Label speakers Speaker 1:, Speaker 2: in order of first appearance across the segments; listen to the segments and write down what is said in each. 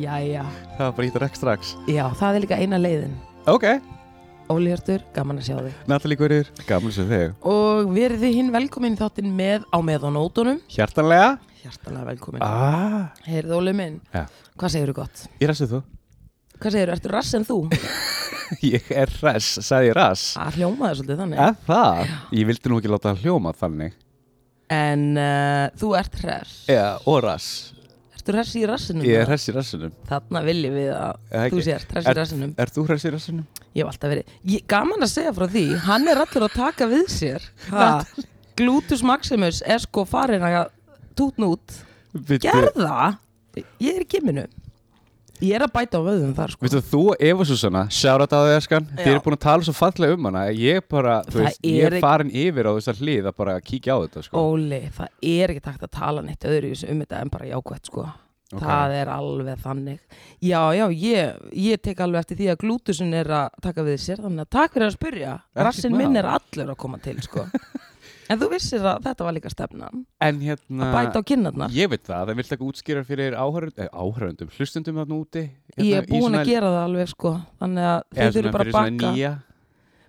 Speaker 1: Jæja,
Speaker 2: Það var bara ítur ekki strax
Speaker 1: já, það er líka eina leiðin
Speaker 2: Ok,
Speaker 1: Óli Hjörtur, gaman að sjá þig
Speaker 2: Natalie Guðrýr Gaman sem þig
Speaker 1: Og verið þið hinn velkomin í þáttinn með á meðanótonum
Speaker 2: Hjartanlega
Speaker 1: Hjartanlega velkomin ah.
Speaker 2: ah,
Speaker 1: Heyrðu Óli minn,
Speaker 2: Já.
Speaker 1: hvað segirðu gott?
Speaker 2: Ég ræsið þú
Speaker 1: Hvað segirðu, ertu rass en þú?
Speaker 2: Ég er ræs, sagði ég ræs
Speaker 1: Það hljómaði svolítið þannig
Speaker 2: Eða það? Ég vildi nú ekki láta það hljóma þannig
Speaker 1: En uh, þú ert rass
Speaker 2: Já, og ræs
Speaker 1: Ertu rass í rassinu?
Speaker 2: Eh. Ég er ræs í ræsinum
Speaker 1: Þarna viljum við að
Speaker 2: Eða
Speaker 1: þú
Speaker 2: ekki?
Speaker 1: sért rass í rassinum
Speaker 2: Er þú ræs í ræsinum?
Speaker 1: Ég hef alltaf verið, ég, gaman að segja frá því Hann er allur að taka við sér ha, Glutus Maximus er sko farin að tútn út Gerða? Ég er í kimminu Ég er að bæta á vöðum þar sko
Speaker 2: Veistu, þú og Eva Susanna, sjárat að þið eskan
Speaker 1: Já.
Speaker 2: Þið eru búin að tala svo fallega um hana Ég bara, þú
Speaker 1: Það
Speaker 2: veist, ég
Speaker 1: er
Speaker 2: er
Speaker 1: ekki-
Speaker 2: farin yfir á þess að hlið að bara kíkja á þetta sko.
Speaker 1: Óli, það er ekki takt að tala neitt öðru um þetta en bara jákvætt sko
Speaker 2: Ok.
Speaker 1: Það er alveg þannig Já, já, ég, ég tek alveg eftir því að glútusin er að taka við sér þannig að takk fyrir að spyrja
Speaker 2: Ekkert
Speaker 1: Rassin
Speaker 2: mál.
Speaker 1: minn er allur að koma til sko En þú vissir að þetta var líka stefnan
Speaker 2: En hérna
Speaker 1: að bæta á kinnarnar
Speaker 2: Ég veit það, það viltu ekki útskýra fyrir áhörund, eh, áhörundum, hlustundum þarna úti hérna,
Speaker 1: Ég er
Speaker 2: í
Speaker 1: búin
Speaker 2: svona-
Speaker 1: að gera það alveg sko Þannig að
Speaker 2: eða
Speaker 1: þau þurfum
Speaker 2: svona
Speaker 1: bara að
Speaker 2: fyrir svona
Speaker 1: bakka
Speaker 2: nýja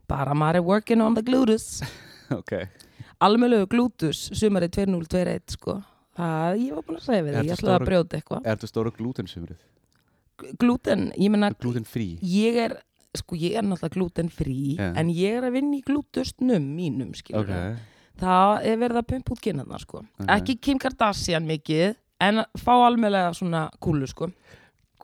Speaker 1: Bara maður er working on the glutus
Speaker 2: Ok,
Speaker 1: almennlegu glútus sumari 2021 sko það, ég var búin að segja við þig,
Speaker 2: Ertu
Speaker 1: ég ætlaði að
Speaker 2: stóra-
Speaker 1: brjóta eitthvað
Speaker 2: er þetta stóra glútensumrið?
Speaker 1: glúten, ég meina,
Speaker 2: Glútenfrí?
Speaker 1: ég er sko, ég er náttúrulega glúten frí
Speaker 2: Já.
Speaker 1: en ég er að vinna í glútustnum mínum skilur
Speaker 2: Ok,
Speaker 1: það er verið að pumpa út kynnaðna sko ekki Kim Kardashian mikið en að fá almennlega svona kúlu sko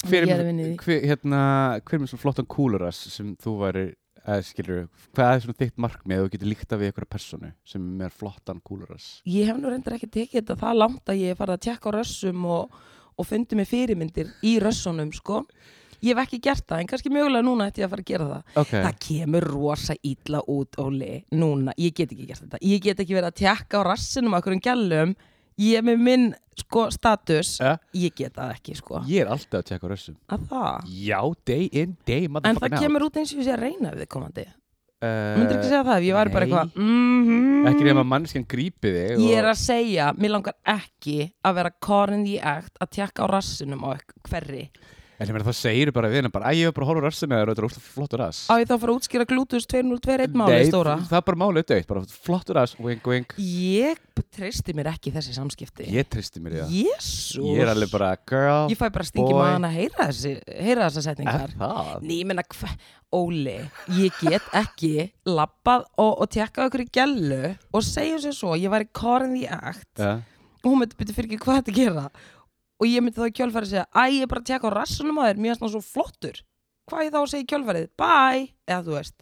Speaker 2: hver,
Speaker 1: ég er að vinna í
Speaker 2: er- hver, hérna, hver er með svona flottan kúlurass sem þú væri að skilur, hvað er svona þitt markmið að þú getur líkta við einhverja personu sem er með flottan kúlurass?
Speaker 1: ég hef nú reyndar ekki tekið þetta það langt að ég hef farið að tjekka á rössum og, og fundi mig fyrirmyndir í rössunum sko ég hef ekki gert það en kannski mögulega núna ætti ég að fara að gera það
Speaker 2: Ok,
Speaker 1: Það kemur rosa illa út, Óli, núna, ég get ekki gert þetta. Ég get ekki verið að tekka á rassinum á einhverjum gælum, ég er með minn, sko, status,
Speaker 2: Eh?
Speaker 1: ég get það ekki, sko.
Speaker 2: ég er alltaf að tjekka á rassum
Speaker 1: Að það.
Speaker 2: Já, day in, day
Speaker 1: En það
Speaker 2: motherfucking out
Speaker 1: kemur út eins og ég sé að reyna við komandi.
Speaker 2: uh,
Speaker 1: Myndir ekki segja það ef ég væri bara
Speaker 2: nei.
Speaker 1: eitthvað, mhm,
Speaker 2: Ekki nema mannskjan grípi þig
Speaker 1: ég er að segja, mér langar ekki að vera korin í egt að tekka á rassinum á ekk- hverri.
Speaker 2: En ég meina það segir bara við hennar bara Æ, ég er bara að horfa á rassum eða þetta er óslega flottur rass
Speaker 1: Á ég þá að fara að útskýra glútus 2021 máli,
Speaker 2: Nei,
Speaker 1: stóra?
Speaker 2: það er bara málið döitt, bara flottur rass, wing, wing
Speaker 1: Ég treysti mér ekki í þessi samskipti.
Speaker 2: Ég tristi mér í það
Speaker 1: Jésús.
Speaker 2: Ég er alveg bara, girl,
Speaker 1: Ég fæ bara stingi
Speaker 2: boy.
Speaker 1: maðan að heyra, þessi, heyra þessa setningar.
Speaker 2: er það?
Speaker 1: Ný, ég menna, hva? Óli, ég get ekki lappað og, og tekka okkur í gælu og segja sér svo, ég væri korin í akt
Speaker 2: Ja.
Speaker 1: og hún myndi byrja fyrir ekki hvað þetta gera og ég myndi þá í kjölfæri segja, æ, ég er bara að tekka á rassunum að þér, mér er svona svo flottur. Hvað ég þá að segja í kjölfærið? Bye! Eða þú veist,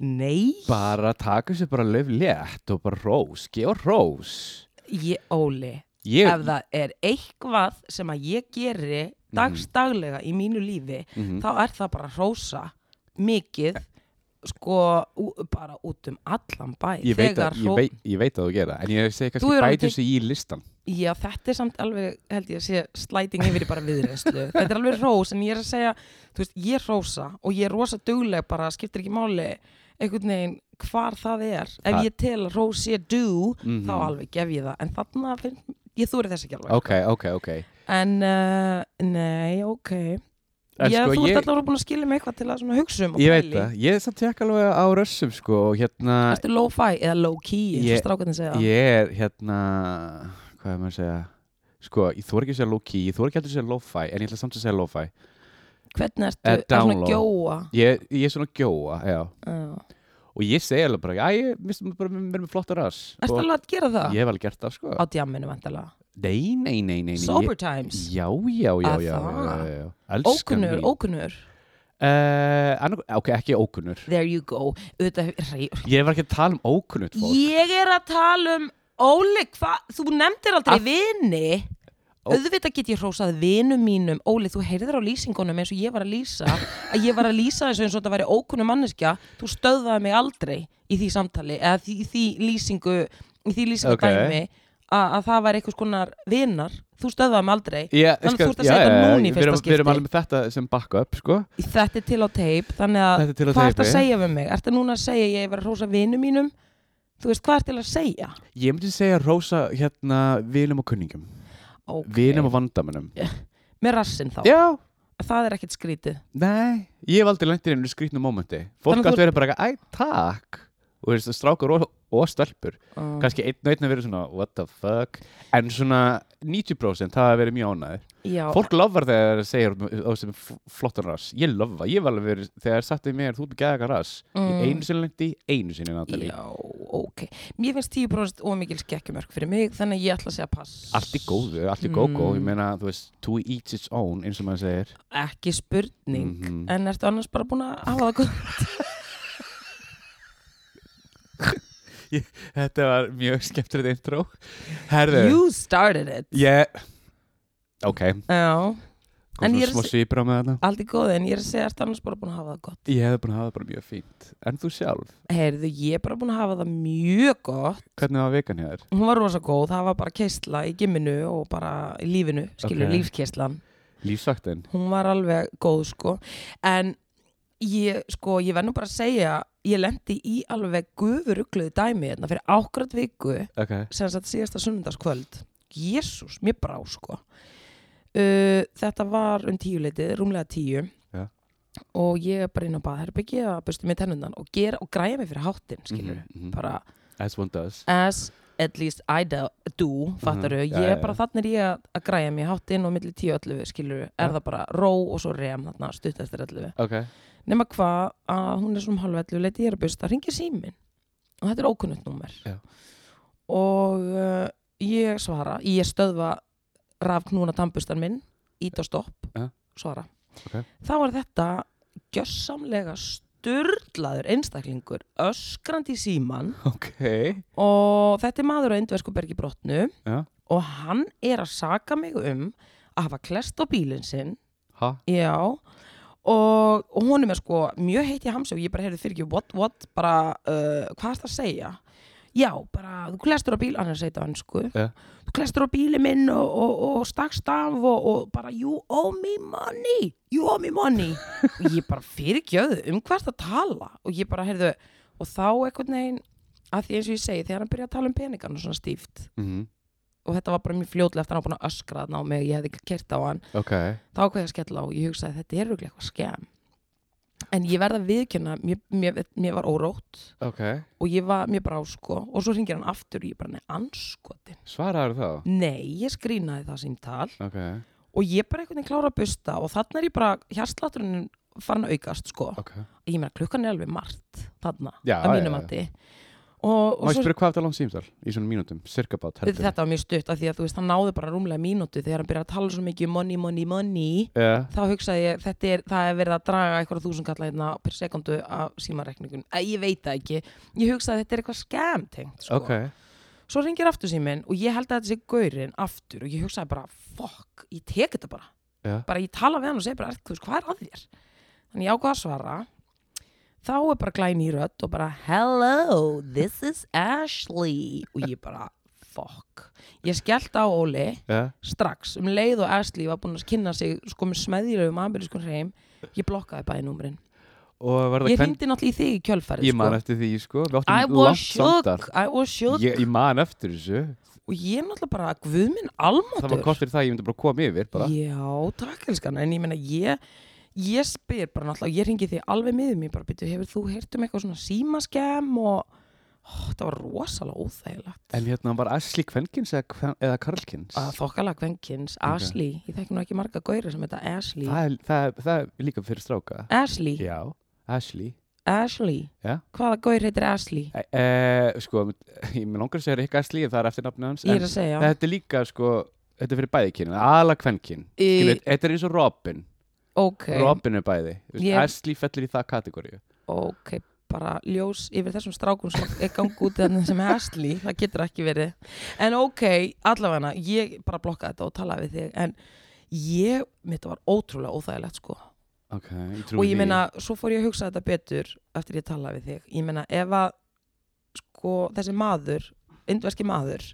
Speaker 1: nei,
Speaker 2: Bara taka sér bara löf létt og bara rós, gefa rós
Speaker 1: ég, Óli,
Speaker 2: Ég,
Speaker 1: ef það er eitthvað sem að ég geri dagstaglega í mínu lífi,
Speaker 2: Mhm.
Speaker 1: þá er það bara hrósa mikið sko ú, bara út um allan bæ
Speaker 2: ég, veit
Speaker 1: Þegar
Speaker 2: að, ég,
Speaker 1: hró-
Speaker 2: veit, ég veit að þú gera En ég segi
Speaker 1: Þú
Speaker 2: kannski
Speaker 1: hefur alveg
Speaker 2: bæti þessu í listan
Speaker 1: já þetta er samt alveg held ég að sé slæting yfir í bara viðreynslu þetta er alveg hrós en ég er að segja þú veist ég er hrósa og ég er rosa dugleg bara skiptir ekki máli einhvern veginn hvar það er ef
Speaker 2: Það-
Speaker 1: ég tel að hrós sé do
Speaker 2: Mhm.
Speaker 1: þá alveg gef ég það en þarna finn ég þúri þess ekki alveg
Speaker 2: Ok, ok, ok
Speaker 1: en uh, nei ok
Speaker 2: En
Speaker 1: Já,
Speaker 2: sko,
Speaker 1: þú ert
Speaker 2: ég-
Speaker 1: allavega búin að skilja mig eitthvað til að svona hugsa um og
Speaker 2: Ég veit
Speaker 1: pæla í.
Speaker 2: það, ég er samt tjekk alveg á rössum sko og hérna
Speaker 1: Ertu low-fi eða low-key eins
Speaker 2: Ég-
Speaker 1: og strákarnir segja?
Speaker 2: Ég er hérna Hvað er maður að segja Sko, ég þor ekki að segja low-key, ég þor ekki heldur að segja lo-fi En ég ætla samt að segja lo-fi
Speaker 1: Hvernig ertu?
Speaker 2: Eh,
Speaker 1: Er svona
Speaker 2: download.
Speaker 1: gjóa?
Speaker 2: ég, ég er svona gjóa, já
Speaker 1: Já.
Speaker 2: Og ég segi alveg bara, já, ég mistum bara með, með, með flottar rass
Speaker 1: Ertu
Speaker 2: Og
Speaker 1: alveg að gera það?
Speaker 2: Ég hef alveg gert það, sko
Speaker 1: Á djamminu vantalega.
Speaker 2: Nei, nei, nei, nei, nei
Speaker 1: Sober
Speaker 2: ég,
Speaker 1: times.
Speaker 2: Já, já, já,
Speaker 1: Að
Speaker 2: já,
Speaker 1: það?
Speaker 2: já, já, já. Elskan
Speaker 1: Ókunnur,
Speaker 2: mín.
Speaker 1: ókunnur.
Speaker 2: Eh, annað- Ok, ekki ókunnur
Speaker 1: There you go. Þetta, rey,
Speaker 2: Ég var ekki að tala um ókunnut fólk
Speaker 1: ég er að tala um Óli, hvað? Þú nefndir aldrei
Speaker 2: Að-
Speaker 1: vini.
Speaker 2: Ó-
Speaker 1: Auðvitað get ég hrósað vinum mínum. Óli, þú heyrðir á lýsingunum eins og ég var að lýsa. Að ég var að lýsa þessu eins og þetta væri ókunnum manneskja. Þú stöðvaði mig aldrei í því samtali eða því, því lýsingu, í því lýsingu
Speaker 2: Ókei.
Speaker 1: dæmi að, að það væri eitthvað skonar vinar. þú stöðvaði mig aldrei
Speaker 2: Já,
Speaker 1: Þannig
Speaker 2: sko,
Speaker 1: þú ert að
Speaker 2: já,
Speaker 1: setja
Speaker 2: já,
Speaker 1: núna í
Speaker 2: við
Speaker 1: fyrsta
Speaker 2: erum- Við erum
Speaker 1: skipti.
Speaker 2: alveg með þetta sem backup, sko
Speaker 1: þetta er til á teip þannig að
Speaker 2: Þetta er til á
Speaker 1: hvað ertu að
Speaker 2: teipi.
Speaker 1: segja við mig ertu núna að segja ég hef verið að hrósa vinum mínum þú veist hvað er til að segja
Speaker 2: Ég myndi segja rósa hérna vinum og kunningum
Speaker 1: okay.
Speaker 2: Vinum og vandamönnum
Speaker 1: með rassin þá,
Speaker 2: Já,
Speaker 1: það er ekkert skrítið
Speaker 2: nei Ég hef aldrei lengt í einu skrýtnum mómenti Fólk
Speaker 1: Þannig að
Speaker 2: alltaf
Speaker 1: þú-
Speaker 2: verið bara eitthvað, æ, takk Og veist, strákar og, og stelpur
Speaker 1: Mm.
Speaker 2: Kannski einn og einn að vera svona, what the fuck En svona 90% það hafa verið mjög ánæður
Speaker 1: já,
Speaker 2: Fólk lofar þegar það segir á sem flottan rass Ég lofa, ég var alveg verið Þegar sagt við mér, þú erum gæðaga rass
Speaker 1: Mm.
Speaker 2: Ég einu sinni lendi, einu sinni Natalie
Speaker 1: já, ok mér finnst 10% ómikil skekkjumörk fyrir mig þannig að ég ætla að segja pass
Speaker 2: Allt í góðu, allt í gógó Ég
Speaker 1: Mm.
Speaker 2: meina, þú veist, to each its own eins og maður segir
Speaker 1: ekki spurning
Speaker 2: Mhm.
Speaker 1: en ertu annars bara búin að hafa það góð
Speaker 2: Þetta var mjög skemmtilegt intro Herðu,
Speaker 1: you started it
Speaker 2: ég Ok,
Speaker 1: já, En
Speaker 2: kom
Speaker 1: ég er
Speaker 2: svo
Speaker 1: að
Speaker 2: smá
Speaker 1: se-
Speaker 2: svipur á með þarna
Speaker 1: allt í góðu en ég er að segja ertu annars bara búin að hafa það gott
Speaker 2: Ég hefði búin að hafa það bara mjög fínt En þú sjálf,
Speaker 1: heyrðu, ég er bara búin að hafa það mjög gott
Speaker 2: hvernig var vegan hér?
Speaker 1: hún var rosa góð, það var bara keisla í gimminu og bara í lífinu, skilur
Speaker 2: Ok.
Speaker 1: okay. lífskeislan
Speaker 2: Lífsvaktin
Speaker 1: hún var alveg góð sko en ég sko ég verð nú bara að segja ég lendi í alveg gufurugluðu dæmi hérna fyrir ákvæmt viku
Speaker 2: Ok
Speaker 1: sem sagt síðasta sunnundaskvöld jésús, mér brá sko uh, þetta var um tíu leitið, rúmlega tíu
Speaker 2: Ja.
Speaker 1: og ég er bara inn á baðherbyggi að bustu mér tennundan og, gera, og græja mig fyrir háttinn skilur
Speaker 2: Mhm, mhm.
Speaker 1: bara
Speaker 2: As one does
Speaker 1: as at least I do, do fattaru,
Speaker 2: Mhm,
Speaker 1: ég
Speaker 2: já,
Speaker 1: er
Speaker 2: já,
Speaker 1: bara
Speaker 2: já.
Speaker 1: þannig er ég að- að græja mig hátt inn og milli 10-11 skilur, er
Speaker 2: Já.
Speaker 1: það bara ró og svo rem þarna stutt eftir 11
Speaker 2: Ok
Speaker 1: nema hvað að hún er svona um halv 11 leiti ég er að busta, ringi símin og þetta er ókunnugt númer
Speaker 2: Já.
Speaker 1: og uh, ég svara ég stöðva rafknúna tannbustan minn, ít og stopp
Speaker 2: Já.
Speaker 1: svara,
Speaker 2: Ok.
Speaker 1: þá var þetta gjössamlega sturlaður einstaklingur öskrandi í síman
Speaker 2: Ok
Speaker 1: og þetta er maður á indversku bergi brotnu
Speaker 2: Já.
Speaker 1: og hann er að saka mig um að hafa klest á bílinn sinn
Speaker 2: Ha?
Speaker 1: já og, og honum er sko mjög heitt í hamsi og ég bara heyrði fyrir ekki what what bara uh, hvað er það að segja já bara þú klestur á bíl hann er að segja þetta á hansku
Speaker 2: Já.
Speaker 1: þú klestur á bílinn minn og, og, og stakst af og, og bara you owe me money you owe me money og ég bara fyrir ekki öðu um hvað er það að tala og ég bara heyrðu og þá einhvern veginn að því eins og ég segi þegar hann byrjaði að tala um peningarna svona stíft
Speaker 2: Mhm.
Speaker 1: og þetta var bara mjög fljótlega eftir að hann var búin að öskra þarna á mig ég hefði kert á hann
Speaker 2: Ok
Speaker 1: þá ákveði ég að skella á og ég hugsaði þetta er rúglega eitthvað skemm en ég verða að viðkjöna mér, mér, mér var órótt
Speaker 2: Ok
Speaker 1: og ég var mér bara á sko og svo ringir hann aftur og ég bara nei anskotin
Speaker 2: Svaraður þá?
Speaker 1: nei ég skrínaði það símtal
Speaker 2: Ok
Speaker 1: og ég bara einhvern veginn klára að busta og þarna er ég bara hjartslátturinn farin að aukast sko
Speaker 2: Ok
Speaker 1: ég meina klukkan er alveg margt þarna
Speaker 2: Já,
Speaker 1: að mínum
Speaker 2: já, já.
Speaker 1: andi og,
Speaker 2: Má
Speaker 1: og
Speaker 2: ég
Speaker 1: svo
Speaker 2: spyrja hvað þetta langt símsal? Í svona mínútum, cirka bát
Speaker 1: þetta var mjög stutt af því að þú veist hann náði bara rúmlega mínútu þegar hann byrjaði að tala svo mikið um money, money, money
Speaker 2: Já
Speaker 1: þá hugsaði ég, þetta er, það er verið að draga eitthvað þúsundkalla hérna per sekundu af símarekningum, Æ, ég veit það ekki ég hugsaði þetta er eitthvað skam tengt sko.
Speaker 2: Ok
Speaker 1: svo ringir aftur síminn og ég held að þetta sé gaurinn aftur og ég hugsaði bara, fuck ég tek þetta bara,
Speaker 2: Já.
Speaker 1: bara ég tala við hann og segi bara, "Ertu, þú veist, hvað er að þér þannig ég ákvað að svara þá er bara glæn í rödd og bara hello, this is Ashley og ég bara, fuck ég skellt á Óli
Speaker 2: Já
Speaker 1: strax um leið og Ashley var búin að kynna sig sko með smeðjulegum amerískum hreim ég blokkaði bæði númurinn
Speaker 2: Og var það
Speaker 1: ég hringdi náttúrulega í þig í kjölfæri
Speaker 2: Ég man eftir því, sko
Speaker 1: I
Speaker 2: Við áttum
Speaker 1: was
Speaker 2: langt
Speaker 1: shook,
Speaker 2: samtal
Speaker 1: I was shook
Speaker 2: Ég, ég man eftir þessu
Speaker 1: og ég náttúrulega bara, guð minn
Speaker 2: Það var
Speaker 1: almáttur
Speaker 2: kort fyrir það að ég myndi bara koma yfir bara.
Speaker 1: já, takk elskan en ég meina ég ég spyr bara náttúrulega, ég ringi þig alveg miðum ég bara byrju, hefur þú heyrt um eitthvað svona símaskem og ó, það var rosalega óþægilegt
Speaker 2: En hérna var Asli Kvenkins eða, Kven- eða Karlkins
Speaker 1: að þokkala kvenkins, Ashley ég þekki nú ekki marga gauri sem heita Ashley
Speaker 2: það, er, það, er, það er líka fyrir stráka
Speaker 1: Ashley,
Speaker 2: Já, Asli
Speaker 1: Ashley
Speaker 2: Já.
Speaker 1: hvaða gaur heitir Ashley?
Speaker 2: e, e, Sko, ég með langar að segja Rick Asli Það er eftir nafni hans
Speaker 1: Ég
Speaker 2: en
Speaker 1: er að segja
Speaker 2: Þetta er líka, sko, þetta er fyrir bæði kynin Ala Kvenkin
Speaker 1: Í-
Speaker 2: Skilu, Þetta er eins og Robin
Speaker 1: Ok,
Speaker 2: Robin er bæði Þú veist,
Speaker 1: Ég-
Speaker 2: Asli fellur í það kategóriu
Speaker 1: ok, bara ljós yfir þessum strákum sem er gangi út þannig sem er Asli, það getur ekki verið En ok, allavega ég bara blokkaði þetta og talaði við þig En ég, mitt var ótrúlega óþægilegt sko
Speaker 2: Ok, ég trúi
Speaker 1: Og ég
Speaker 2: því.
Speaker 1: meina, svo fór ég að hugsa þetta betur eftir ég talaði við þig Ég meina, ef að sko, þessi maður, indverski maður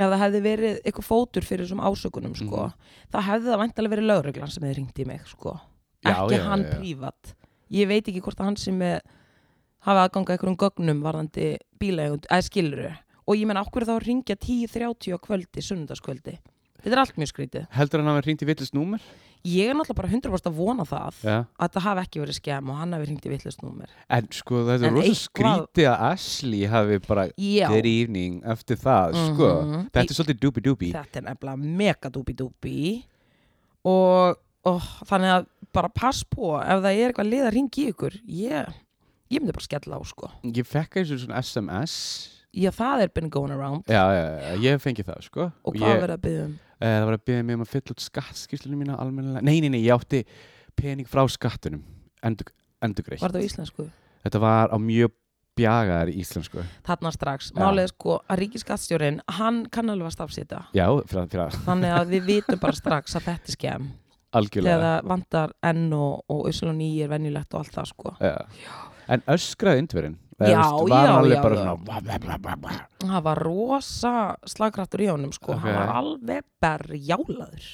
Speaker 1: ef það hefði verið eitthvað fótur fyrir þessum ásökunum sko,
Speaker 2: Mhm.
Speaker 1: þá hefði það vantilega verið lögreglan sem hefði ringt í mig sko.
Speaker 2: Já,
Speaker 1: ekki
Speaker 2: já, já,
Speaker 1: hann
Speaker 2: já.
Speaker 1: prívat ég veit ekki hvort að hann sem er, hafa aðganga einhverjum gögnum varðandi bílægund, eða skiluru og ég menn ákveður þá að ringja 10.30 á kvöldi, sunnundaskvöldi þetta er allt mjög skrítið
Speaker 2: Heldur hann að hann ringt í villist númer?
Speaker 1: ég er náttúrulega bara 100% að vona það
Speaker 2: Já.
Speaker 1: að það hafi ekki verið skemm og hann hafi ringt í vittlustnúmer
Speaker 2: En sko þetta er
Speaker 1: En
Speaker 2: rosa
Speaker 1: eitthvað-
Speaker 2: skrítið að Ashley hafi bara
Speaker 1: já,
Speaker 2: good evening eftir það, sko.
Speaker 1: Mhm.
Speaker 2: Þetta er svolítið dooby-dooby.
Speaker 1: þetta er nefnilega mega dúbi dúbi og, og þannig að bara pass på ef það er eitthvað lið að ringi ykkur ég, ég myndi bara skella á sko
Speaker 2: Ég fekk eins og svona SMS.
Speaker 1: já það er been going around
Speaker 2: Já, já, já, ég fengi það, sko.
Speaker 1: og hvað
Speaker 2: ég,
Speaker 1: verið að byggja um
Speaker 2: Eh, Það var að byggja mig um að fylla út skattskýrslunum mína almennilega. Nei, nei, nei, ég átti pening frá skattunum, endur, endurgreitt.
Speaker 1: var þetta á íslensku?
Speaker 2: Þetta var á mjög bjagaðar í Íslandsku.
Speaker 1: þarna strax,
Speaker 2: Já.
Speaker 1: málið er sko að ríkiskattstjórin hann kann alveg að stafsita
Speaker 2: Já, fyrir, fyrir að
Speaker 1: þannig að við vitum bara strax að þetta er skemm
Speaker 2: algjörlega.
Speaker 1: þegar það vantar enn og, og usl og nýjir venjulegt og allt það sko
Speaker 2: Já. En öskraði indverinn.
Speaker 1: Já,
Speaker 2: var
Speaker 1: já,
Speaker 2: alveg
Speaker 1: já,
Speaker 2: bara
Speaker 1: já.
Speaker 2: svona bla, bla, bla, bla, bla.
Speaker 1: Það var rosa slagkraftur í honum sko,
Speaker 2: Ok.
Speaker 1: hann var alveg berjálaður.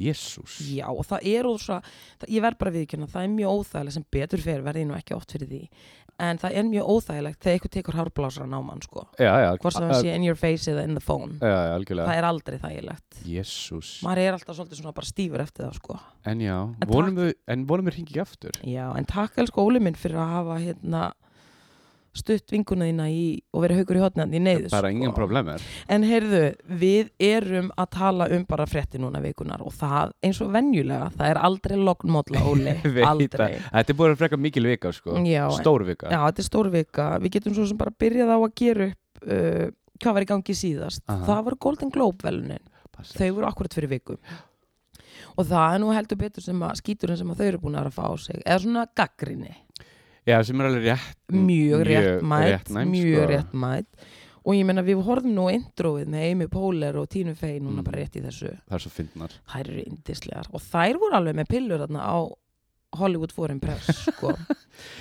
Speaker 2: Jésús.
Speaker 1: Já, og það er rosa, það, ég verð bara viðkjörna, það er mjög óþægilegt sem betur fyrir verði ég nú ekki oft fyrir því. En það er mjög óþægilegt þegar eitthvað tekur hárblásara á mann sko,
Speaker 2: Já, já.
Speaker 1: hvort sem
Speaker 2: a-
Speaker 1: það sé in your face eða in the phone.
Speaker 2: Já, já, algjörlega.
Speaker 1: Það er aldrei þægilegt.
Speaker 2: Jésús.
Speaker 1: Maður er alltaf svolítið svona bara stífur eftir það sko.
Speaker 2: En já,
Speaker 1: En
Speaker 2: vonum við, en vonum við hringi ekki aftur.
Speaker 1: Já, en takk elsku Óli minn fyrir að hafa hérna stutt vinguna þína í og verið haugur í hotnandi í sko. neyðus.
Speaker 2: Bara engin problemer.
Speaker 1: En heyrðu, við erum að tala um bara frétti núna vikunar og það, eins og venjulega, það er aldrei lognmódla Óli,
Speaker 2: Veit
Speaker 1: aldrei.
Speaker 2: það. Þetta er búin að freka mikil vika, sko.
Speaker 1: Já,
Speaker 2: Stór vika.
Speaker 1: já, þetta er stór vika. Við getum svo sem bara byrjað á að gera upp uh, hvað var í gangi síðast.
Speaker 2: Aha.
Speaker 1: Það var Golden Globe velunin.
Speaker 2: Passa.
Speaker 1: Þau voru akkurat fyrir viku. Og það er nú heldur betur sem að skíturinn sem að þau eru búin að fá á sig. Eða svona gaggrinni.
Speaker 2: Já, sem er alveg rétt
Speaker 1: mjög
Speaker 2: Mjög
Speaker 1: réttmætt
Speaker 2: réttnæm,
Speaker 1: mjög
Speaker 2: sko.
Speaker 1: réttmætt og ég meina við horfum nú á introið með Amy Poehler og Tina Fey núna
Speaker 2: Mm.
Speaker 1: bara rétt í þessu
Speaker 2: Það er svo fyndnar
Speaker 1: þær eru indislegar og þær voru alveg með pillur þarna á Hollywood Foreign Press sko.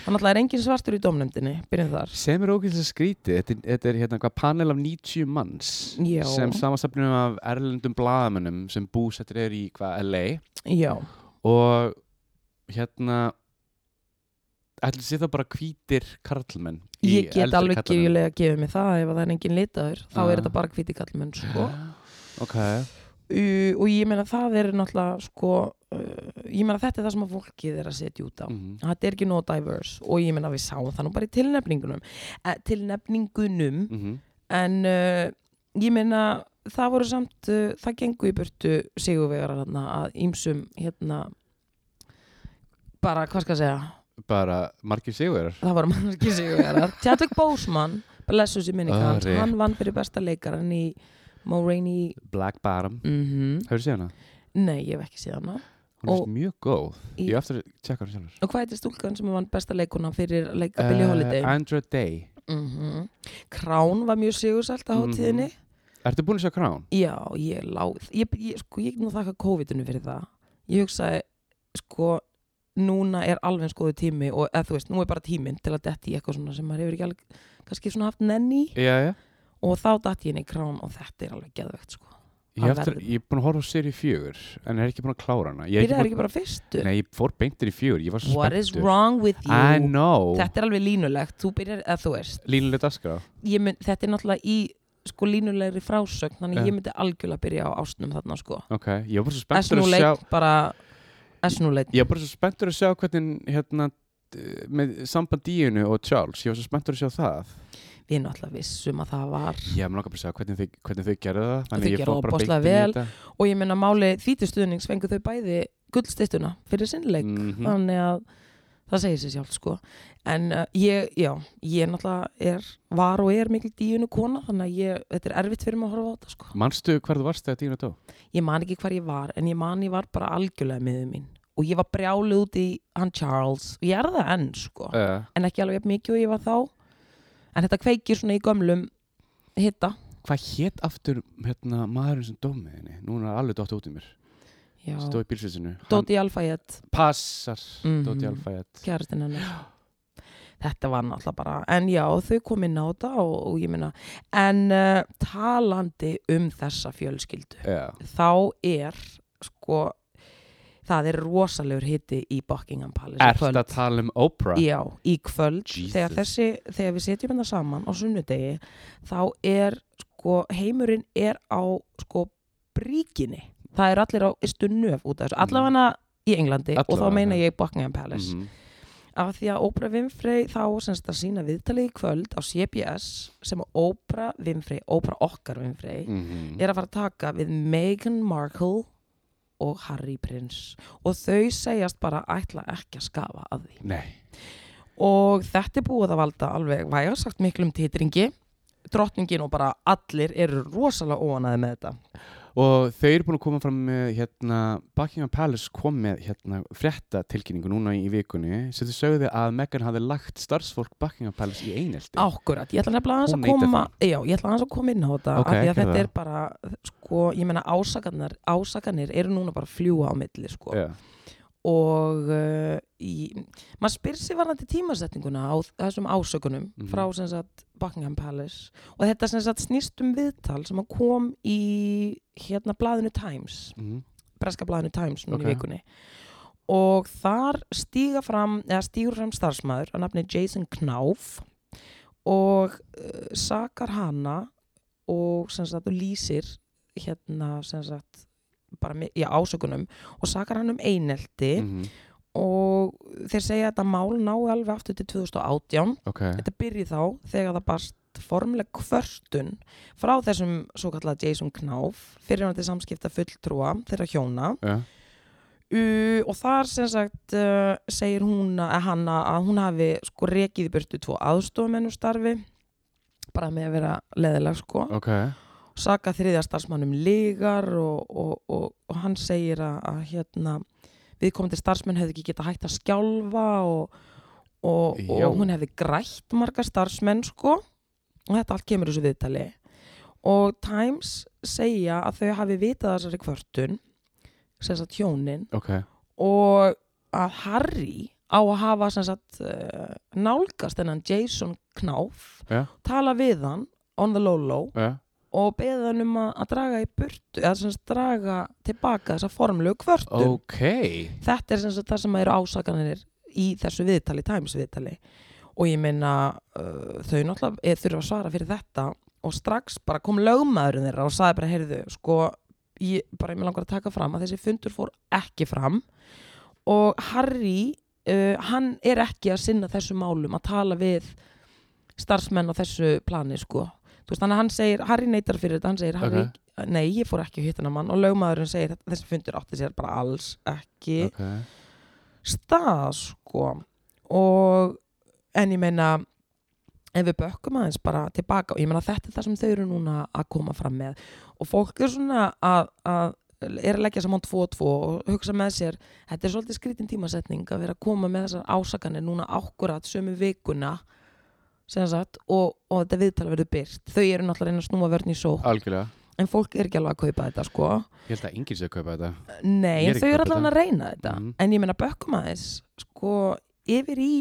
Speaker 1: þannig að það er engin svartur í domnefndinni byrjum þar
Speaker 2: Sem er ógæðslega skrítið Þetta er, þetta er hérna hvað panel af 90 manns
Speaker 1: Já.
Speaker 2: sem samanstafnum af erlendum blaðamönnum sem búsettir er í hvað LA
Speaker 1: já,
Speaker 2: og hérna ætli sé það bara hvítir karlmenn í
Speaker 1: ég get
Speaker 2: eldri
Speaker 1: alveg
Speaker 2: karlmönnum.
Speaker 1: gefjulega gefið mig það ef að það er engin litaður þá
Speaker 2: Ah.
Speaker 1: er þetta bara hviti kallmenn sko.
Speaker 2: Ok,
Speaker 1: uh, og ég meina það er náttúrulega sko, uh, ég meina þetta er það sem að fólkið er að setja út á
Speaker 2: mm
Speaker 1: þetta er ekki nóg diverse og ég menna við sáum það nú bara í tilnefningunum e, tilnefningunum
Speaker 2: -hmm.
Speaker 1: en uh, ég menna það voru samt, uh, það gengu í burtu sigurvegar hérna, að ímsum hérna bara, hvað skal ég segja
Speaker 2: bara margir sigur
Speaker 1: það voru mannarki sigurvegarar Chadwick Boseman, blessus í minni hans
Speaker 2: Ari.
Speaker 1: hann vann fyrir besta leikaran í Mo Rainey
Speaker 2: Black Bottom,
Speaker 1: mm
Speaker 2: hefur séð hana?
Speaker 1: nei, ég hef ekki séð hana
Speaker 2: Hún er
Speaker 1: Og-
Speaker 2: mjög góð
Speaker 1: Í-
Speaker 2: Ég á eftir að tjekka hann sjálfur
Speaker 1: og hvað heitir stúlkan sem vann besta leikuna fyrir að leika Billie Holiday
Speaker 2: Eh, Andra Day
Speaker 1: mm Krán var mjög sigursælt á hátíðinni
Speaker 2: Ertu búin að sjá Crown?
Speaker 1: Já, ég láð ég, ég, sko, ég get nú þakka COVID-inu fyrir það ég hugsaði, sko núna er alveg eins góðu tími og eða þú veist, nú er bara tíminn til að detti í eitthvað svona sem maður hefur ekki alveg, kannski svona haft nenni í.
Speaker 2: Já, já
Speaker 1: og þá datti ég inn í krán og þetta er alveg geðvegt, sko
Speaker 2: Ég,
Speaker 1: Hann
Speaker 2: eftir,
Speaker 1: verður.
Speaker 2: ég er búin að horfa á séri fjögur en er ekki búin að klára hana ég er
Speaker 1: Byrjaði
Speaker 2: ekki
Speaker 1: ekki bara á fyrstu
Speaker 2: búin, Nei, ég fór beintir í fjögur, ég var svo
Speaker 1: What is
Speaker 2: spenntur
Speaker 1: wrong with
Speaker 2: I
Speaker 1: you?
Speaker 2: know
Speaker 1: Þetta er alveg línulegt, þú byrjar, eða þú veist
Speaker 2: Línuleg dagskrá
Speaker 1: ég mynd, þetta er náttúrulega í sko línulegri frásögn, þannig
Speaker 2: Já.
Speaker 1: ég myndi algjörlega byrja á ástnum þarna, sko
Speaker 2: Ok, ég var bara svo spenntur að sjá
Speaker 1: Esnuleit, bara Esnuleit
Speaker 2: Ég var bara svo spenntur að sjá hvernig hérna d- með samband Díunu og Charles ég var svo spenntur að sjá það
Speaker 1: við náttúrulega vissum að það var
Speaker 2: ég hef langar bara að sjá hvernig þau, hvernig þau gerðu það
Speaker 1: þau
Speaker 2: þannig ég
Speaker 1: gerðu
Speaker 2: fór bara
Speaker 1: ofboðslega
Speaker 2: beint inn í
Speaker 1: vel.
Speaker 2: þetta.
Speaker 1: og ég meina máli þýtistuðning svengu þau bæði gullstittuna fyrir sinnleik
Speaker 2: Mhm.
Speaker 1: þannig að það segir sér sjálf sko en uh, ég, já, ég náttúrulega er, var og er mikil díunu kona þannig að ég, þetta er erfitt fyrir mig að horfa á þetta sko
Speaker 2: Manstu hvar þú varst þegar Díuna dó?
Speaker 1: ég man ekki hvar ég var en ég man ég var bara algjörlega miður mín og ég var brjálu út í hann Charles og ég er það enn sko
Speaker 2: Uh,
Speaker 1: en ekki alveg jafn mikið og ég var þá en þetta kveikir svona í gömlum hitta
Speaker 2: hvað hétt aftur hérna, maðurinn sem dó með henni? Núna er alveg dótt út í mér
Speaker 1: Já.
Speaker 2: stóð í bílsveitsinu
Speaker 1: Dóti Alfayet
Speaker 2: Passar,
Speaker 1: Mhm.
Speaker 2: Dóti Alfæjett
Speaker 1: kærastinn hennar þetta var náttúrulega bara, en já, þau kom inn á þetta og, og ég meina, en uh, talandi um þessa fjölskyldu,
Speaker 2: Já,
Speaker 1: þá er, sko, það er rosalegur hitti í Buckingham Palace. í
Speaker 2: Er
Speaker 1: kvöld.
Speaker 2: þetta að tala um Oprah?
Speaker 1: Já, í kvöld
Speaker 2: Jesus.
Speaker 1: þegar, þessi, þegar við setjum þetta saman á sunnudegi þá er sko, heimurinn er á sko, bríkinni það er allir á ystu nöf út af þessu allavega í Englandi og
Speaker 2: Mm. Allavega,
Speaker 1: þá meina
Speaker 2: já.
Speaker 1: ég Buckingham Palace
Speaker 2: Mhm.
Speaker 1: af því að Oprah Winfrey þá semst að sína viðtalið í kvöld á CBS sem að Oprah Winfrey, Oprah okkar Winfrey
Speaker 2: Mhm.
Speaker 1: er að fara að taka við Meghan Markle og Harry Prince og þau segjast bara ætla ekki að skafa að því
Speaker 2: Nei,
Speaker 1: og þetta er búið að valda alveg vægarsagt miklum titringi drottningin og bara allir eru rosalega óanaði með þetta
Speaker 2: og þau eru búin að koma fram með hérna, Buckingham Palace kom með hérna, frétta tilkynningu núna í vikunni sem þau sögðu að Meghan hafi lagt starfsfólk Buckingham Palace í einelti
Speaker 1: Akkurat, ég ætla nefnilega aðeins
Speaker 2: Hún
Speaker 1: að
Speaker 2: neitar
Speaker 1: koma já, ég ætla aðeins að koma inn á þetta
Speaker 2: Ok,
Speaker 1: af því að
Speaker 2: gerðu
Speaker 1: þetta
Speaker 2: það.
Speaker 1: er bara, sko, ég meina ásakanir, ásakanir eru núna bara að fljúa á milli, sko
Speaker 2: Já.
Speaker 1: og uh, í, maður spyr sér varandi tímasetninguna á þessum ásökunum
Speaker 2: Mhm.
Speaker 1: frá sem sagt Buckingham Palace og þetta sem sagt snýst um viðtal sem að kom í hérna blaðinu Times
Speaker 2: Mhm.
Speaker 1: breska blaðinu Times núna
Speaker 2: Ok.
Speaker 1: í vikunni og þar stíga fram eða stígur fram starfsmæður að nafni Jason Knauf og uh, sakar hana og sem sagt og lýsir hérna sem sagt bara með, já, ásökunum og sakar hann um einelti
Speaker 2: Mhm.
Speaker 1: og þeir segja að þetta mál ná alveg aftur til 2018
Speaker 2: Ok,
Speaker 1: þetta byrji þá þegar það barst formleg kvörtun frá þessum svo kallað Jason Knauf fyrir hann til samskipta fulltrúa þeirra hjóna
Speaker 2: Já.
Speaker 1: uh, og þar sem sagt uh, segir hún að, hann að að hún hafi sko rekið í burtu tvo aðstofumennum starfi bara með að vera leðileg sko
Speaker 2: ok
Speaker 1: saka þriðja starfsmannum lígar og, og, og, og hann segir að, að hérna, viðkomandi starfsmenn hefði ekki geta hægt að skjálfa og, og,
Speaker 2: Já.
Speaker 1: og hún hefði grætt marga starfsmenn sko og þetta allt kemur í þessu viðtali og Times segja að þau hafi vitað af þessari kvörtun sem sagt hjónin
Speaker 2: Ok,
Speaker 1: og að Harry á að hafa sem sagt eh, nálgast hennan Jason Knauf
Speaker 2: Já.
Speaker 1: tala við hann on the low low
Speaker 2: já,
Speaker 1: og beðið hann um að, að draga í burtu eða sem sagt draga tilbaka þessa formlegu kvörtun
Speaker 2: ok
Speaker 1: þetta er sem sagt það sem eru ásakanir í þessu viðtali, Times viðtali og ég meina uh, þau náttúrulega eh, þurfa að svara fyrir þetta og strax bara kom lögmaðurinn þeirra og sagði bara, heyrðu, sko ég, bara ég með langar að taka fram að þessi fundur fór ekki fram og Harry, uh, hann er ekki að sinna þessu málum að tala við starfsmenn á þessu plani, sko þú veist, þannig að hann segir, Harry neytar fyrir þetta hann segir, Harry,
Speaker 2: Ok.
Speaker 1: nei, ég fór ekki að hitta hennar mann og lögmaðurinn segir, þessi fundur átti sér bara alls ekki
Speaker 2: Ok,
Speaker 1: stað sko og en ég meina ef við bökkum aðeins bara tilbaka og ég meina þetta er það sem þau eru núna að koma fram með og fólk er svona að, að er að leggja saman 2-2 og hugsa með sér þetta er svolítið skrítin tímasetning að vera að koma með þessar ásakanir núna ákkurat sömu vikuna sem sagt og, og þetta viðtala verður byrst þau eru náttúrulega að reyna að snúa vörn í sók
Speaker 2: algjörlega
Speaker 1: en fólk er ekki alveg að kaupa þetta sko
Speaker 2: Ég held að enginn sé að kaupa þetta
Speaker 1: Nei,
Speaker 2: Ég er
Speaker 1: en
Speaker 2: ekki
Speaker 1: þau eru
Speaker 2: að kaupa
Speaker 1: allavega að reyna þetta
Speaker 2: Mhm.
Speaker 1: en ég meina bökkum aðeins sko, yfir í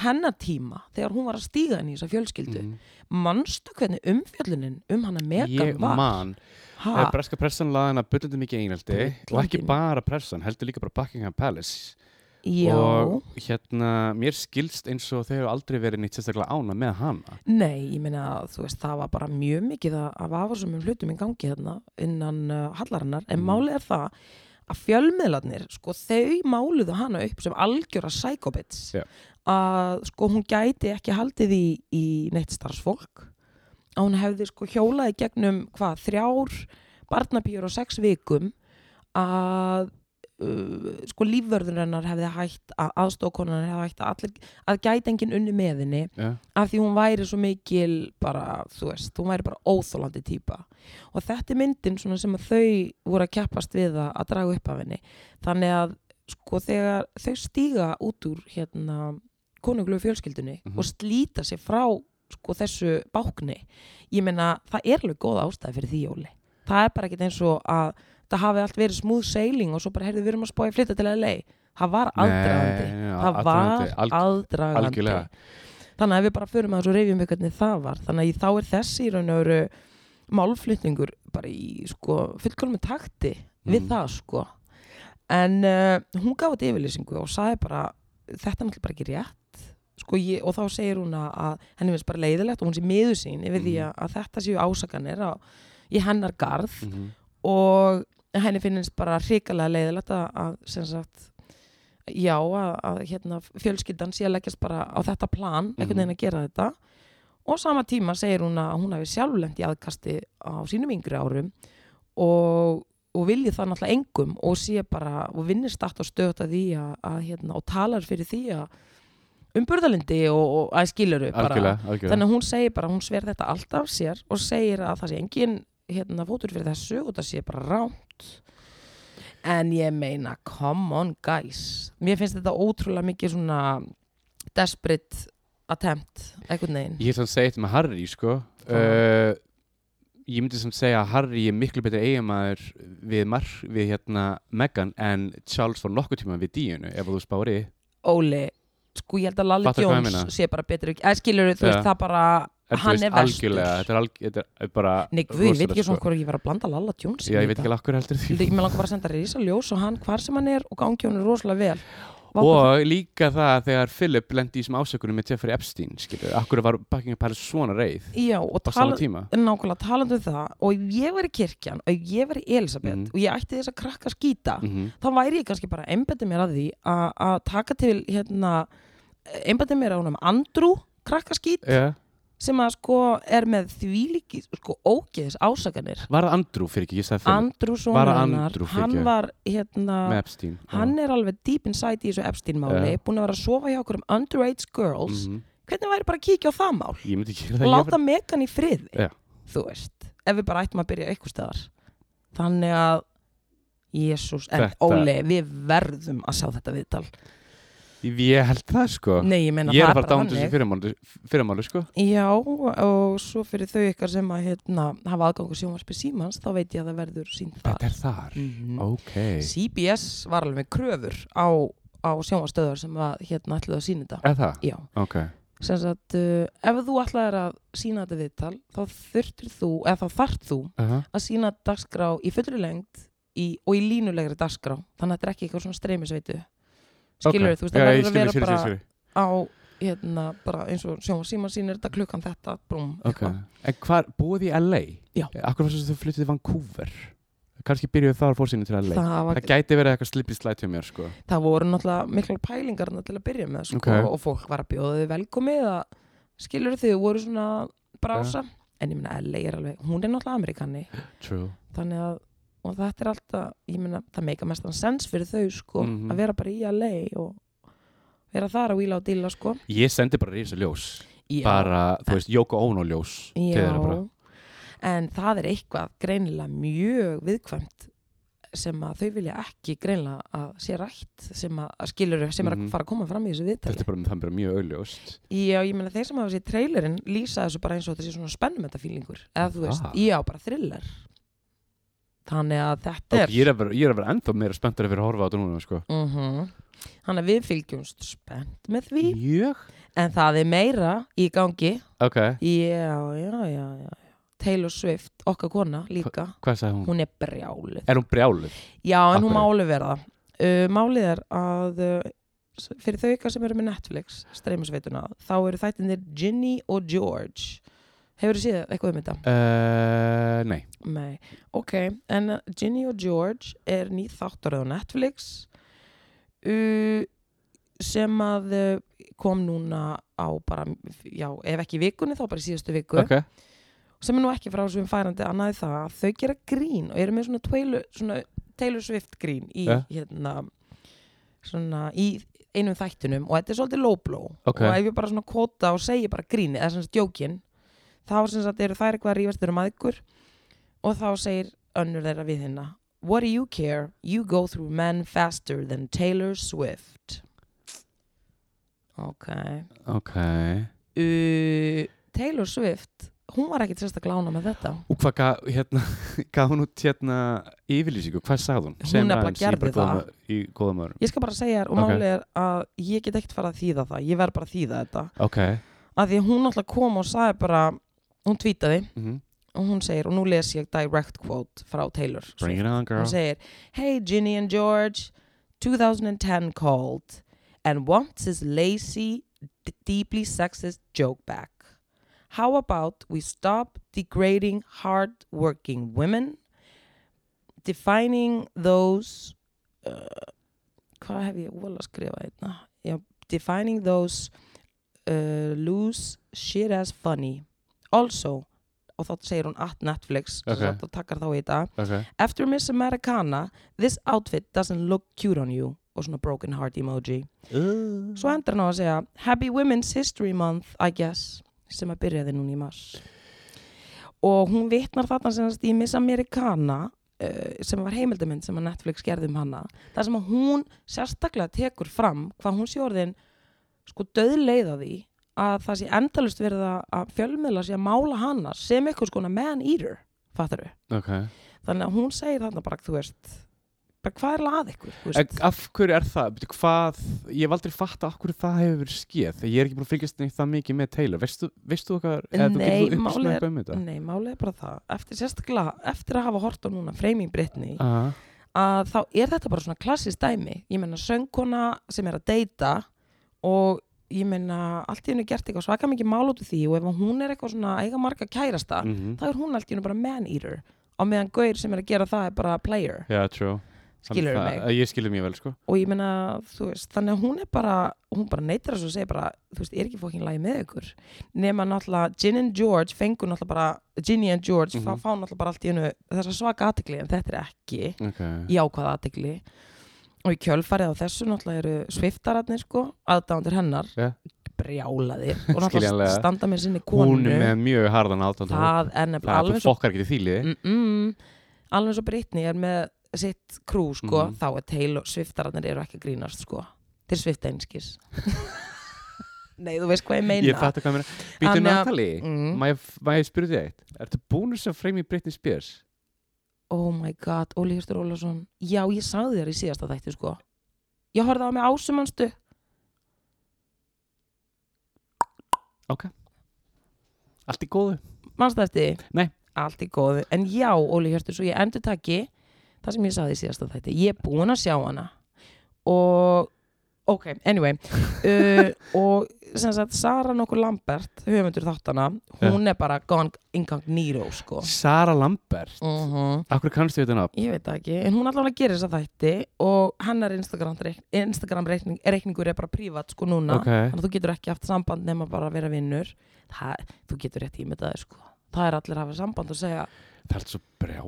Speaker 1: hennar tíma þegar hún var að stíga inn í þessa fjölskyldu
Speaker 2: Mhm.
Speaker 1: manstu hvernig umfjöllunin um hana
Speaker 2: Ég
Speaker 1: megan var
Speaker 2: man,
Speaker 1: ha,
Speaker 2: ha. breska pressan laði hana bullandi mikið einhaldi og
Speaker 1: Bullandi.
Speaker 2: ekki bara pressan, heldur líka bara Buckingham Palace
Speaker 1: já,
Speaker 2: og hérna, mér skilst eins og þau hefur aldrei verið nýtt sérstaklega ána með hana
Speaker 1: nei, ég meina þú veist það var bara mjög mikið að- af afarsumum hlutum í gangi þarna innan uh, hallarinnar, en
Speaker 2: Mhm.
Speaker 1: málið er það að fjölmiðlarnir, sko, þau máluðu hana upp sem algjöra psychobits
Speaker 2: Já.
Speaker 1: að sko hún gæti ekki haldið í, í neitt starfsfólk að hún hefði sko hjólaði gegnum hvað, þrjár barnapýr og sex vikum að uh, sko lífvörðurinnar hefði hægt að aðstókonunar hefði hægt að, allir, að gæti enginn unni með henni
Speaker 2: Já.
Speaker 1: af því hún væri svo mikil bara, þú veist, hún væri bara óþólandi típa og þetta er myndin svona sem að þau voru að keppast við að, að draga upp af henni þannig að sko þegar þau stíga út úr hérna konunglu fjölskyldunni
Speaker 2: Mhm.
Speaker 1: og slíta sig frá sko þessu bákni ég meina það er alveg góð ástæði fyrir því Jóli það er bara ekkert eins og að það hafi allt verið smúð sailing og svo bara heyrðu við erum að spája flytta til LA það var
Speaker 2: Nei,
Speaker 1: aðdragandi
Speaker 2: já,
Speaker 1: það var
Speaker 2: aðdragandi, alg-
Speaker 1: aðdragandi
Speaker 2: algjörlega.
Speaker 1: þannig að ef við bara förum að þessu reyfjum við hvernig það var þannig að í- þá er þessi í raun og veru málflutningur bara í sko, fullkólum takti við
Speaker 2: Mhm.
Speaker 1: það sko en uh, hún gaf þetta yfirlýsingu og sagði bara þetta er náttúrulega bara ekki rétt sko, ég, og þá segir hún að, að henni finnst bara leiðilegt og hún sé miður sín yfir því
Speaker 2: Mhm.
Speaker 1: að, að þetta séu ásakanir á, í hennar garð
Speaker 2: Mhm.
Speaker 1: og henni finnst bara hrikalega leiðilegt að, að sem sagt já, að, að hérna, fjölskyldan sé að leggjast bara á þetta plan einhvern veginn að gera þetta og sama tíma segir hún að hún hafi sjálflend í aðkasti á sínum yngri árum og, og vilji það náttúrulega engum og sé bara og vinnir start og stöðt að því að, að hérna, og talar fyrir því að um burðalindi og, og að skiluru bara,
Speaker 2: Algjörlega, algjörlega
Speaker 1: þannig að hún segir bara, hún sver þetta allt af sér og segir að það sé engin hérna fótur fyrir þessu og það sé bara rámt en ég meina, come on guys mér finnst þetta ótrúlega mikið svona desperate attempt, einhvern veginn
Speaker 2: Ég er samt segið með Harry sko uh, Ég myndi samt segja að Harry er miklu betur eiginmaður við, Mar við hérna Meghan en Charles var nokkuð tíma við Díunu ef þú spári
Speaker 1: Óli, sko ég held að Lalli
Speaker 2: Fattar hvað ég meina?
Speaker 1: Jones sé bara betur ekki, skilur þú
Speaker 2: Já.
Speaker 1: veist, það bara
Speaker 2: En þú
Speaker 1: Hann
Speaker 2: veist,
Speaker 1: er verstur.
Speaker 2: algjörlega, Þetta er, alg, þetta er bara
Speaker 1: Nei, guð, ég veit
Speaker 2: rosalegt, sko.
Speaker 1: ekki svona hvort ég var að blanda Lalla Jones
Speaker 2: Já, ég veit ekki lakkur heldur því
Speaker 1: Mér langar bara að senda Rísa ljós og hann hvar sem hann er og gangi hann rosalega vel Vá, hvað
Speaker 2: Og líka það þegar Philip lendi í sem ásökunum með Jeffrey Epstein skilur, akkur var Buckingham Palace svona reið
Speaker 1: það- Já, og
Speaker 2: á
Speaker 1: tala,
Speaker 2: sama tíma
Speaker 1: nákvæmlega talandi um það og ef ég væri kirkjan og ef ég væri Elisabeth
Speaker 2: Mhm.
Speaker 1: og ég ætti þess að krakka skýta
Speaker 2: mm -hmm.
Speaker 1: þá væri ég kannski bara einbætti mér að því a- að taka til hérna einbætti mér að honum Andrú krakka skýt
Speaker 2: yeah.
Speaker 1: sem að sko er með þvílíki sko ógeðis ásakanir
Speaker 2: Var það Andrew fyrir ekki, ég sagði Philip
Speaker 1: Andrú
Speaker 2: Var
Speaker 1: sonur
Speaker 2: að
Speaker 1: hennar,
Speaker 2: Andrew,
Speaker 1: hann
Speaker 2: fyrirgefðu.
Speaker 1: var hérna
Speaker 2: með Epstein
Speaker 1: hann er alveg deep inside í þessu Epstein-máli
Speaker 2: Já.
Speaker 1: búin að vera að sofa hjá okkur um underage
Speaker 2: mm
Speaker 1: girls hvernig væri bara að kíkja á það mál
Speaker 2: Ég myndi ekki
Speaker 1: og láta megan í friði
Speaker 2: Já.
Speaker 1: þú veist, ef við bara ættum að byrja eitthvað staðar þannig að Jésús, en
Speaker 2: Þetta-
Speaker 1: Óli, við verðum að sjá þetta viðtal
Speaker 2: Ég held það sko
Speaker 1: Nei, ég meina
Speaker 2: Ég
Speaker 1: það
Speaker 2: er að
Speaker 1: er
Speaker 2: fara
Speaker 1: bara
Speaker 2: dánum þessu
Speaker 1: þannig
Speaker 2: fyrirmáli, fyrirmáli sko
Speaker 1: Já, og svo fyrir þau ykkar sem að hérna, hafa aðgangu sjónvarpi símans þá veit ég að það verður sínt
Speaker 2: Þetta
Speaker 1: þar
Speaker 2: er þar
Speaker 1: Mhm.
Speaker 2: Ok
Speaker 1: CBS var alveg með kröfur á, á sjónvarstöðar sem að hérna ætluðu að sína þetta
Speaker 2: Er það?
Speaker 1: Já,
Speaker 2: Ok
Speaker 1: sem sagt, uh, ef þú ætlaðir að sína þetta viðtal, þá þurftir þú eða þá þart þú
Speaker 2: uh -huh.
Speaker 1: að sína dagskrá í fullri lengd í, og í línulegri dagskrá þannig að þetta er ekki eitthvað svona streymisveitu skilur þú veist, það verður að vera bara á hérna, bara eins og sjóma síma sínir þetta klukkan þetta, brúm
Speaker 2: Ok
Speaker 1: eitthvað.
Speaker 2: En hvað, búið í LA?
Speaker 1: Já.
Speaker 2: Akkur fannst þess að þú flyttið til Vancouver? Kannski byrjuðu þar fórsýnni til LA
Speaker 1: það, var,
Speaker 2: Það gæti verið eitthvað slippið slætt hjá mér sko
Speaker 1: það voru náttúrulega mikla pælingarna til að byrja með sko,
Speaker 2: Ok.
Speaker 1: og fólk var að bjóða þau velkomið að skilur þau voru svona brása en ég meina LA er alveg, hún er náttúrulega amerikanni
Speaker 2: True
Speaker 1: þannig að og þetta er alltaf, ég meina, það meika mestan sens fyrir þau sko,
Speaker 2: Mhm.
Speaker 1: að vera bara í LA og vera þar að víla og díla sko
Speaker 2: Ég sendi bara risa ljós
Speaker 1: Já,
Speaker 2: Bara, þú veist, Jóko Ono ljós til
Speaker 1: já.
Speaker 2: þeirra bara.
Speaker 1: en það er eitthvað greinilega mjög viðkvæmt sem að þau vilja ekki greinilega að sé rætt sem að að skilur sem er
Speaker 2: Mhm.
Speaker 1: að fara að koma fram í þessu viðtali
Speaker 2: Þetta er bara, það er bara mjög augljóst
Speaker 1: já, ég meina þeir sem hafa sér trailerinn lýsa þessu bara eins og þetta sé svona spennum þetta fílingur eða þú veist,
Speaker 2: Ah.
Speaker 1: já, bara thriller þannig að þetta
Speaker 2: Og
Speaker 1: er
Speaker 2: ég er að vera, ég er að vera ennþá meira spenntur að vera að horfa á þetta núna sko
Speaker 1: Mhm. þannig að við fylgjumst spennt með því
Speaker 2: Mjög
Speaker 1: en það er meira í gangi
Speaker 2: Ok,
Speaker 1: já, já, já, já já. Taylor Swift, okkar kona líka
Speaker 2: hvað sagði hún?
Speaker 1: hún er brjáluð
Speaker 2: Er hún brjálið?
Speaker 1: já en hún
Speaker 2: Af
Speaker 1: má
Speaker 2: hverju?
Speaker 1: alveg vera það. uh, málið er að uh, s- fyrir þau ykkar sem eru með Netflix streymisveituna, þá eru þættinir Ginny og George hefur þið séð eitthvað um þetta?
Speaker 2: Uh, nei
Speaker 1: Nei, ok en uh, Ginny og George er ný þáttaröð á Netflix uh, sem að uh, kom núna á bara, já, ef ekki í vikunni þá bara í síðustu viku
Speaker 2: Ok,
Speaker 1: sem er nú ekki frá þessum færandi annaði það að þau gera grín og eru með svona Taylor, svona Taylor Swift grín í
Speaker 2: Ja.
Speaker 1: hérna svona í einum þættunum og þetta er svolítið low blow
Speaker 2: Ok.
Speaker 1: og ef ég bara svona kóta og segi bara grín eða svona djókin þá sem sagt eru þær eitthvað að rífast þeirra um aðgur og þá segir önnur þeirra við hérna What do you care? You go through men faster than Taylor Swift Ok
Speaker 2: ok
Speaker 1: uh, Taylor Swift hún var ekkit sérstaklega glána með þetta
Speaker 2: Og hvað gaf, hérna, gaf hún út hérna yfirlýsingu? Hvað sagði hún?
Speaker 1: Hún
Speaker 2: Segðu mér
Speaker 1: nefnilega
Speaker 2: aðeins, ég er bara
Speaker 1: gerði það.
Speaker 2: góðum- Í góðum öðrum
Speaker 1: Ég skal bara segja þér og
Speaker 2: Ok.
Speaker 1: málið er að ég get ekkert fara að þýða það, ég verð bara að þýða þetta
Speaker 2: Ok,
Speaker 1: að því að hún alltaf kom og sagði bara hún tvítaði
Speaker 2: Mhm.
Speaker 1: og hún segir og nú les ég direct quote frá Taylor Swift.
Speaker 2: Bring it on, girl.
Speaker 1: hún segir Hey Ginny and George 2010 called and wants his lazy d- deeply sexist joke back How about we stop degrading hard-working women defining those uh, hvað hef ég vola að skrifa einna Já, eh, defining those uh, loose shit as funny also og þá segir hún at Netflix
Speaker 2: Ok.
Speaker 1: okay. og takkar þá í þetta
Speaker 2: Ok.
Speaker 1: After Miss Americana, this outfit doesn't look cute on you og svona broken heart emoji Svo
Speaker 2: Mm.
Speaker 1: endur hann á að segja Happy Women's History Month, I guess sem að byrjaði núna í mars og hún vitnar þarna sem sagt í Miss Americana uh, sem var heimildamind sem að Netflix gerði um hana þar sem að hún sérstaklega tekur fram hvað hún sé orðin sko döðleiða því að það sé endalust verið að- að fjölmiðla sé að mála hana sem eitthvað skona man-eater fattaru
Speaker 2: Ok.
Speaker 1: þannig að hún segir þarna bara, þú veist bara hvað er lað ykkur, þú
Speaker 2: En
Speaker 1: veist
Speaker 2: af hverju er það? Bíddu, Hvað, ég hef aldrei fatt að hverju það hefur verið skeð þegar ég er ekki búin að fylgjast neitt það mikið með Taylor veistu, veistu okkar, eða þú
Speaker 1: Nei, málið
Speaker 2: getur þú uppsnað
Speaker 1: er-
Speaker 2: eitthvað um þetta?
Speaker 1: nei, málið er bara það eftir sérstaklega, eftir að hafa hort á núna Framing Britney,
Speaker 2: Aha,
Speaker 1: að þá er þetta bara svona klassist dæmi, ég meina söngkona sem er að deyta og ég meina, allt í hennu gert eitthvað svaka mikið mál út úr því og ef hún er eitthvað svona eiga marga kærasta,
Speaker 2: mhm.
Speaker 1: þá er hún allt í hennu bara man-eater á meðan gaur sem er að gera það er bara player,
Speaker 2: Já, true Þannig
Speaker 1: skilur
Speaker 2: það-
Speaker 1: mig
Speaker 2: Ég skilur mjög vel, sko
Speaker 1: og ég meina, þú veist, þannig að hún er bara hún bara neytir þessu og segir bara þú veist, er ekki fókin lagi með ykkur nema náttúrulega, Gin and George fengur náttúrulega bara Ginny and George mm
Speaker 2: Mhm.
Speaker 1: fá náttúrulega bara allt í hennu þessa svaka aðtegli en þetta er ekki
Speaker 2: okay.
Speaker 1: jákvæða aðtegli og í kjölfarið á þessu náttúrulega eru sviftararnir sko, aðdándur hennar
Speaker 2: Ja.
Speaker 1: brjálaðir og náttúrulega
Speaker 2: Skiljanlega.
Speaker 1: standa með sinni konu
Speaker 2: Hún er með mjög harðan aðtönda
Speaker 1: það er nefnilega
Speaker 2: það
Speaker 1: alveg
Speaker 2: er
Speaker 1: svo
Speaker 2: þú fokkar ekki til þýliði
Speaker 1: mm -mm. alveg svo Britney er með sitt krú sko,
Speaker 2: Mhm.
Speaker 1: þá er Taylor sviftararnir eru ekki að grínast sko þeir svifta einskis nei, þú veist hvað ég meina
Speaker 2: Ég fatt hvað mér Býtu
Speaker 1: Þannig að-
Speaker 2: Natalie,
Speaker 1: Mm.
Speaker 2: má ég- má ég spyrja þig eitt Ertu búin sem freymi Britney Spears?
Speaker 1: oh my god, Óli Hjörstur Ólafsson já, ég sagði þér í síðasta þætti sko ég horfði á mig ásumannstu
Speaker 2: Ok Allt í góðu
Speaker 1: mannstu eftir því?
Speaker 2: Nei.
Speaker 1: allt í góðu, en já, Óli Hjörstur svo ég endur taki það sem ég sagði í síðasta þætti ég er búin að sjá hana og ok, anyway uh, og sem sagt Sara nokkur Lambert höfundur þáttana, hún er bara gone incognito sko
Speaker 2: Sara Lambert
Speaker 1: uh
Speaker 2: Akkur kannstu við þetta nafn?
Speaker 1: ég veit það ekki, en hún allavega gerir þess að þætti og hennar Instagram, reik- Instagram reikning, reikningur er bara prívat sko núna
Speaker 2: Ok
Speaker 1: þannig að þú getur ekki haft samband nema bara að vera vinnur þú getur rétt ímyndaði sko það er allir að hafa samband og segja
Speaker 2: Það er allt svo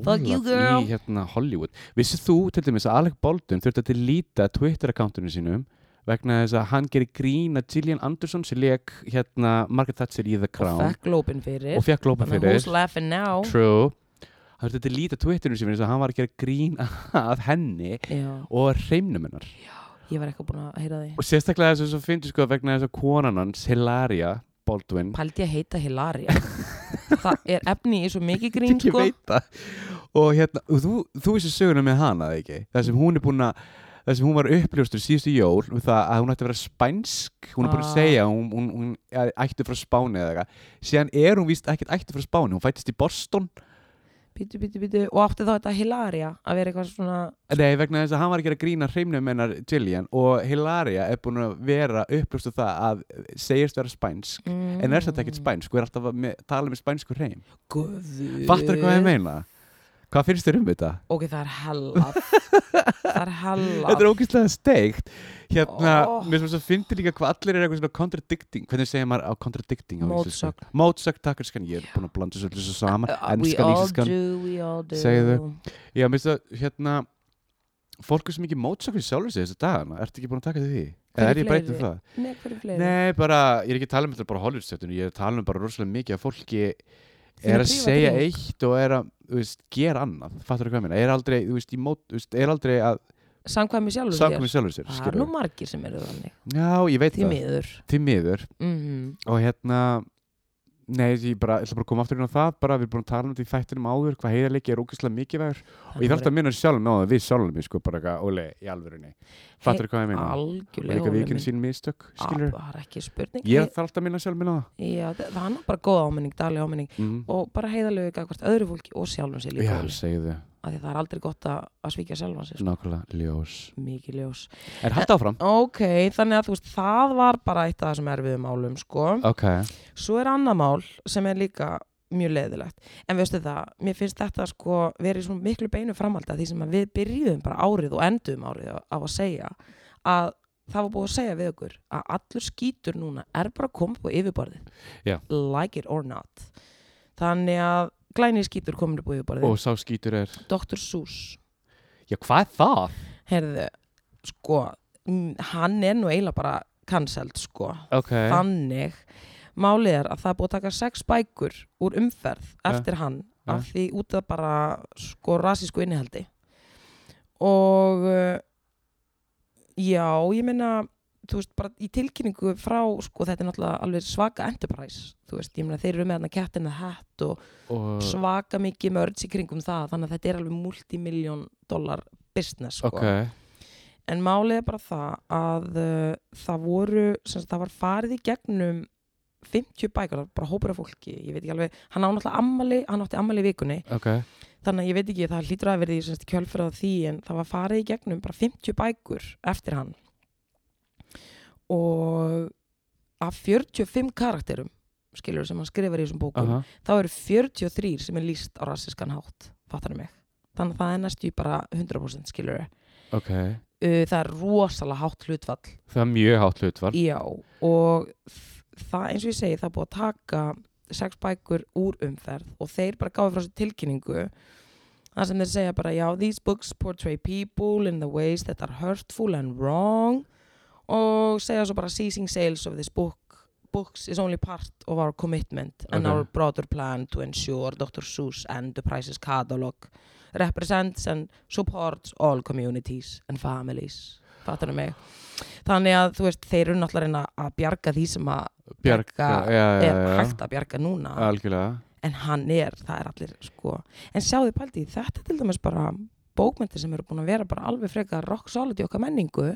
Speaker 1: Fuck you, girl.
Speaker 2: brjálað í hérna Hollywood Vissið þú til dæmis að Alec Baldwin þurfti að delita Twitter-akkántunum sínum vegna þess að hann gerir grín að Gillian Anderson sem leik hérna Margaret Thatcher í The
Speaker 1: og
Speaker 2: Crown
Speaker 1: fekk glópin fyrir
Speaker 2: og fekk lópa
Speaker 1: Þannig
Speaker 2: fyrir
Speaker 1: who's laughing now
Speaker 2: True Hann þurfti að delita Twitterinu sínum þess að hann var að gera grín að henni
Speaker 1: Já,
Speaker 2: og hreimnum hennar
Speaker 1: ég var eitthvað búin að heyra því
Speaker 2: og sérstaklega þess að finnst sko vegna þess að konan hans Hilaria Baldwin
Speaker 1: Paldi að heita Hilaria Það er efni í svo mikið grín
Speaker 2: ég
Speaker 1: sko
Speaker 2: veit það og hérna, og þú, þú veist söguna með hana eða ekki, það sem hún er búin að það sem hún var uppljóstur síðustu jól við það að hún ætti að vera spænsk hún er
Speaker 1: Ah.
Speaker 2: búin að segja, að hún, hún, hún er ætti frá Spáni eða eitthvað, síðan er hún víst ekkert ætti frá Spáni, hún fættist í Boston
Speaker 1: Bítu, bítu, bítu Og átti þá þetta Hilaria að vera eitthvað svona
Speaker 2: Nei, vegna þess að hann var að gera grína hreimnum hennar Jillian og Hilaria er búin að vera uppljóstu það að segjast vera spænsk
Speaker 1: mm,
Speaker 2: en er þetta ekkert spænsk, hún er alltaf að me- tala með spænsku hreim
Speaker 1: Guður
Speaker 2: Fattar hvað ég meina? Hvað finnst þér um þetta?
Speaker 1: Ok, það er hella Það er hella
Speaker 2: Þetta er ógeðslega steikt Hérna,
Speaker 1: Oh.
Speaker 2: mér sem þess að fyndi líka hvað allir er eitthvað svona contradicting Hvernig segir maður á contradicting á íslensku?
Speaker 1: Mótsögn Uh,
Speaker 2: Mótsögn takkiskan, ég er búin að blanda svolítið svo saman
Speaker 1: We
Speaker 2: Enskan,
Speaker 1: all
Speaker 2: íslenskan
Speaker 1: do, we all do
Speaker 2: Segðu. Já, mér finnst það, hérna Fólk er svo mikið mótsögn í sjálfur sig þessu dagana Ertu ekki búin að taka til því?
Speaker 1: Hver
Speaker 2: Eða
Speaker 1: er
Speaker 2: er ég bara eitt um
Speaker 1: fleiri?
Speaker 2: það?
Speaker 1: Nei, hverju fleiri
Speaker 2: Nei, bara, ég er ekki að tala um þetta bara Hollywoodstjörnum Ég er að tala um bara rosalega mikið að fólki
Speaker 1: Þína
Speaker 2: er að
Speaker 1: prívat
Speaker 2: segja
Speaker 1: hring.
Speaker 2: eitt og er að, þú veist, gera annað Fattur hvað ég meina? Er aldrei, þú veist, í mót, þú veist, er aldrei að
Speaker 1: Samkvæmi sjálfur
Speaker 2: samkvæmi sjálfur
Speaker 1: Það er
Speaker 2: sér,
Speaker 1: Ah, nú
Speaker 2: skilur
Speaker 1: margir sem eru þannig
Speaker 2: Já, ég veit
Speaker 1: Því
Speaker 2: það,
Speaker 1: miður
Speaker 2: því miður
Speaker 1: Mhm.
Speaker 2: og hérna Nei, ég bara, ætla bara að koma aftur inn á það bara, við erum búin að tala um þetta í þættinum áður hvað heiðarleiki er ógeðslega mikilvægur og ég þarf alltaf að minna sjálf með á það, við sjálfum ég sko bara eitthvað, óle, í alvörunni Fattur hvað ég meina? Og
Speaker 1: algjörlega
Speaker 2: líka
Speaker 1: Óli
Speaker 2: vikinn
Speaker 1: minn.
Speaker 2: sín mistök,
Speaker 1: Ah,
Speaker 2: skilur
Speaker 1: það er ekki spurning
Speaker 2: Ég þarf alltaf að minna sjálf minna á það
Speaker 1: Hei- já, það það er nú bara góð áminning, daglega áminning
Speaker 2: mm.
Speaker 1: og bara heiðalegu eitthvað öðru fólki og sjálfum sér
Speaker 2: Já,
Speaker 1: líka Óli.
Speaker 2: segðu,
Speaker 1: af því það er aldrei gott að, að svíkja sjálfan sér sko.
Speaker 2: nákvæmlega ljós
Speaker 1: mikið ljós
Speaker 2: Er hægt áfram?
Speaker 1: ok, þannig að þú veist, það var bara eitt af þessum erfiðu málum sko.
Speaker 2: Ok,
Speaker 1: svo er annað mál sem er líka mjög leiðilegt en veistu það, mér finnst þetta sko verið svona miklu beinu framhaldi að því sem að við byrjuðum bara árið og endum árið á á að segja að það var búið að segja við okkur að allur skítur núna er bara að koma på yfirborðið
Speaker 2: Já.
Speaker 1: like it or not þannig að glæni skítur komin upp á yfirborðið
Speaker 2: og sá skítur er
Speaker 1: Dr. Seuss
Speaker 2: Já, hvað er það?
Speaker 1: heyrðu, sko mm, hann er nú eiginlega bara cancelled sko,
Speaker 2: Ok,
Speaker 1: þannig málið er að það er búið að taka sex bækur úr umferð eftir hann
Speaker 2: ja.
Speaker 1: af því út af bara sko rasísku innihaldi og uh, já, ég meina þú veist, bara í tilkynningu frá sko, þetta er náttúrulega alveg svaka enterprise þú veist, ég meina þeir eru með hann að kettina hætt og
Speaker 2: og,
Speaker 1: svaka mikið mörds í kringum það þannig að þetta er alveg multimiljón dólar business sko.
Speaker 2: ok
Speaker 1: en málið er bara það að uh, það voru, sem sagt, það var farið í gegnum 50 bækur, það var bara hópur af fólki ég veit ekki alveg, hann á náttúrulega ammali hann átti ammali í vikunni,
Speaker 2: Ok,
Speaker 1: þannig að ég veit ekki það hlýtur að verði sem sagt, kjölfyrað því en það var farið í gegnum bara 50 bækur eftir hann og af 45 karakterum skilur sem hann skrifar í þessum bókum
Speaker 2: aha,
Speaker 1: þá eru 43 sem er líst á rassískan hátt, fattar mig þannig að það er næstu í bara 100% skilur uh,
Speaker 2: ok
Speaker 1: það er rosalega hátt hlutfall
Speaker 2: Það er mjög hátt hlutvar
Speaker 1: já, og þ- það eins og ég segi það er búið að taka sex bækur úr umferð og þeir bara gáði frá sér tilkynningu þar sem þeir segja bara já, these books portray people in the ways that are hurtful and wrong og segja svo bara ceasing sales of this book books is only part of our commitment and
Speaker 2: Ok.
Speaker 1: our broader plan to ensure Dr. Seuss and the Price's catalog represents and supports all communities and families fattar mig þannig að þú veist, þeir eru náttúrulega að reyna að bjarga því sem að
Speaker 2: Bjarga,
Speaker 1: Bjarga
Speaker 2: já, já,
Speaker 1: er
Speaker 2: já,
Speaker 1: hægt að bjarga núna
Speaker 2: já Algjörlega
Speaker 1: en hann er, það er allir sko en sjáðu pældi, þetta er til dæmis bara bókmyndir sem eru búin að vera bara alveg frekar rock solid í okkar menningu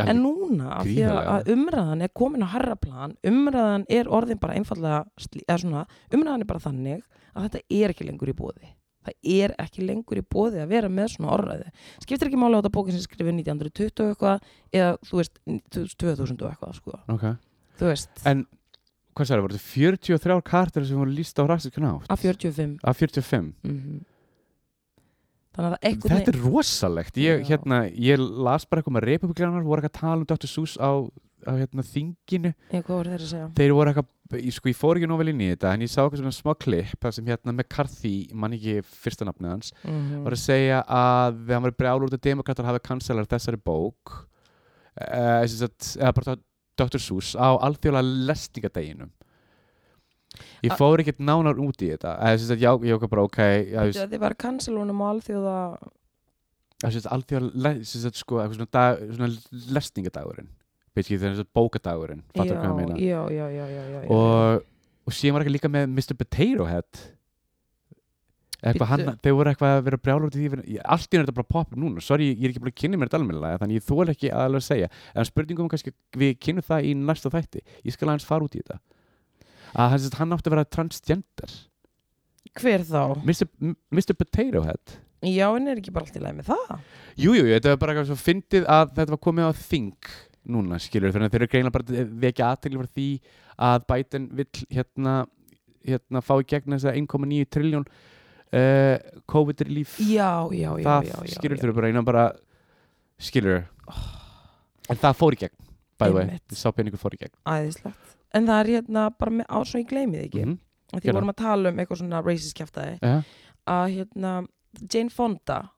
Speaker 2: Alveg
Speaker 1: en núna, af því að-
Speaker 2: gríðarlega.
Speaker 1: að umræðan er komin á harraplan, umræðan er orðin bara einfallega, slí- eða svona umræðan er bara þannig að þetta er ekki lengur í bóði það er ekki lengur í bóði að vera með svona orðræði skiptir ekki máli á þetta bókin sem skrifið 1920 og eitthvað eða þú veist 2000 og eitthvað sko.
Speaker 2: Ok
Speaker 1: þú veist,
Speaker 2: En, hvað sagði, voru þetta 43 kartir sem voru líst á rassiskan átt?
Speaker 1: af 45
Speaker 2: Af 45
Speaker 1: -hmm. þannig að það eitthvað
Speaker 2: Þetta er rosalegt ég,
Speaker 1: Já.
Speaker 2: hérna, ég las bara eitthvað með republikanar voru eitthvað að tala um Dr. Seuss á, á hérna, þinginu
Speaker 1: Já, hvað voru þeir að segja?
Speaker 2: þeir voru eitthvað ég, sko, ég fór ekki nóg vel inn í þetta en ég sá eitthvað svona smá klipp þar sem hérna McCarthy, mann ekki fyrsta nafnið hans
Speaker 1: Mm
Speaker 2: var að segja að hann var brjálur út að demokrater hafi kanselar þessari bók eh, sem sagt, eða bara Dr. Seuss á alþjóðlega lestingadeginum ég
Speaker 1: A-
Speaker 2: fór ekkert nánar út í þetta eða sem sagt, já, ég okkar bara ok já, þú veist,
Speaker 1: Þið var kansilunum og alþjóða
Speaker 2: það sést alþjóða sem sagt sko eitthvað svona, dag, svona lesningadagurinn basically þegar þess að bókadagurinn fattur hvað ég meina
Speaker 1: já, já, já, já, já, já.
Speaker 2: og, og síðan var ekki líka með Mr. Potato Head
Speaker 1: Bíddu.
Speaker 2: eitthvað hann, þau voru eitthvað að vera brjála út í því ég- allt í henni er þetta bara að poppa upp núna sorry, ég er ekki búin að kynna mér þetta almennilega þannig ég þól ekki að alveg segja en spurningum er kannski við kynum það í næsta þætti ég skal aðeins fara út í þetta að hann, sem sagt, hann átti að vera transgender
Speaker 1: Hver þá?
Speaker 2: Mr. M- Mr. Potato Head
Speaker 1: Já, en er ekki bara allt í lagi með það?
Speaker 2: Jú, jú, þetta var bara eitthvað svo fyndið að þetta var komið á þing núna, skilur, þannig að þeir eru greinlega bara að vekja aðtækli fyrir því að Biden vill hérna, hérna fá í gegn þess að 1,9 triljón uh, COVID-líf
Speaker 1: Já, já, já,
Speaker 2: það
Speaker 1: já, já, já.
Speaker 2: skilur
Speaker 1: Oh.
Speaker 2: þeir eru bara einan bara skilur en það fór í gegn, by the way
Speaker 1: Einmitt.
Speaker 2: sá peningur fór í gegn
Speaker 1: Æðislegt En það er hérna bara með, á svo ég gleymið ekki mm
Speaker 2: Mhm.
Speaker 1: -hmm. Því
Speaker 2: gerðu
Speaker 1: vorum að tala um eitthvað svona racist kjaftaði
Speaker 2: Já,
Speaker 1: að hérna Jane Fonda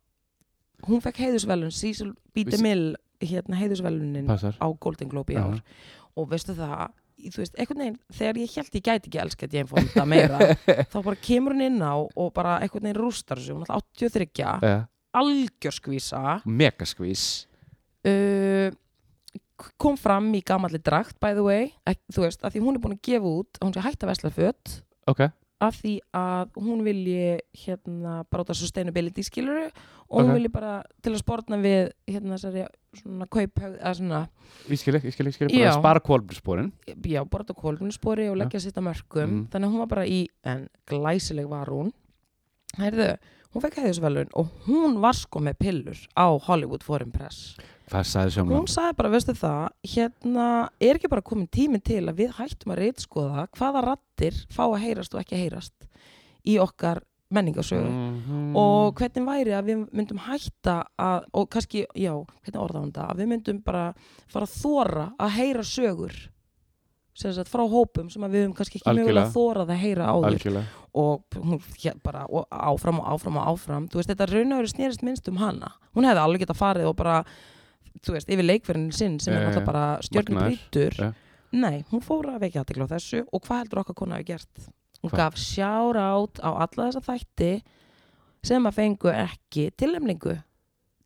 Speaker 1: hún fekk heiðusvelun Cecil B.
Speaker 2: Vissi-
Speaker 1: DeMille hérna heiðusvelunin
Speaker 2: passar
Speaker 1: á Golden Globe í ár og veistu það, í- þú veist, einhvern veginn þegar ég held ég gæti ekki elska Jane Fonda meira þá bara kemur hún inn á og bara einhvern veginn rústar þessu, hún er alltaf 83
Speaker 2: uh,
Speaker 1: algjörskvísa
Speaker 2: megaskvís
Speaker 1: uh, kom fram í gamalli drakt by the way, Ek, þú veist, að því hún er búin að gefa út að hún sé hætt að vesla fött
Speaker 2: ok,
Speaker 1: af því að hún vilji hérna bara út af sustainability skiluru og hún
Speaker 2: Ok.
Speaker 1: vilji bara til að spórna við hérna þessari svona kaup eða svona,
Speaker 2: ég skil ekki, ég skil ekki, ég skil ekki
Speaker 1: Já.
Speaker 2: bara spara kólbúrspórin
Speaker 1: já, bara út af kólgunspori og leggja sitt að mörgum,
Speaker 2: Mm.
Speaker 1: þannig að hún var bara í en glæsileg var hún heyrðu, hún fekk heiðisvelun og hún var sko með pillur á Hollywood Foreign Press
Speaker 2: hvað sagði sjónum
Speaker 1: Hún sagði bara, veistu það, hérna er ekki bara komin tími til að við hættum að reytskoða hvaða rattir fá að heyrast og ekki að heyrast í okkar menningarsögu
Speaker 2: -hmm.
Speaker 1: og hvernig væri að við myndum hætta að, og kannski, já, hvernig orða hún þetta, að við myndum bara fara að þóra að heyra sögur sem sagt frá hópum sem að við höfum kannski ekki
Speaker 2: Algjörlega.
Speaker 1: mögulega þórað að heyra áður
Speaker 2: algjörlega
Speaker 1: og hún hér bara og áfram og áfram og áfram þú veist þetta raunöður snýrist minnst um hana hún hefði alveg getað farið og bara þú veist yfir leikverðinu sinn sem
Speaker 2: Já,
Speaker 1: er
Speaker 2: já,
Speaker 1: náttúrulega bara stjörnum
Speaker 2: Magnaður.
Speaker 1: brýtur
Speaker 2: Já.
Speaker 1: nei, hún fór að vekja aðtekla á þessu og hvað heldur okkar konu hafi gert hún
Speaker 2: Hvað?
Speaker 1: gaf sjárát á alla þessa þætti sem að fengu ekki tilnefningu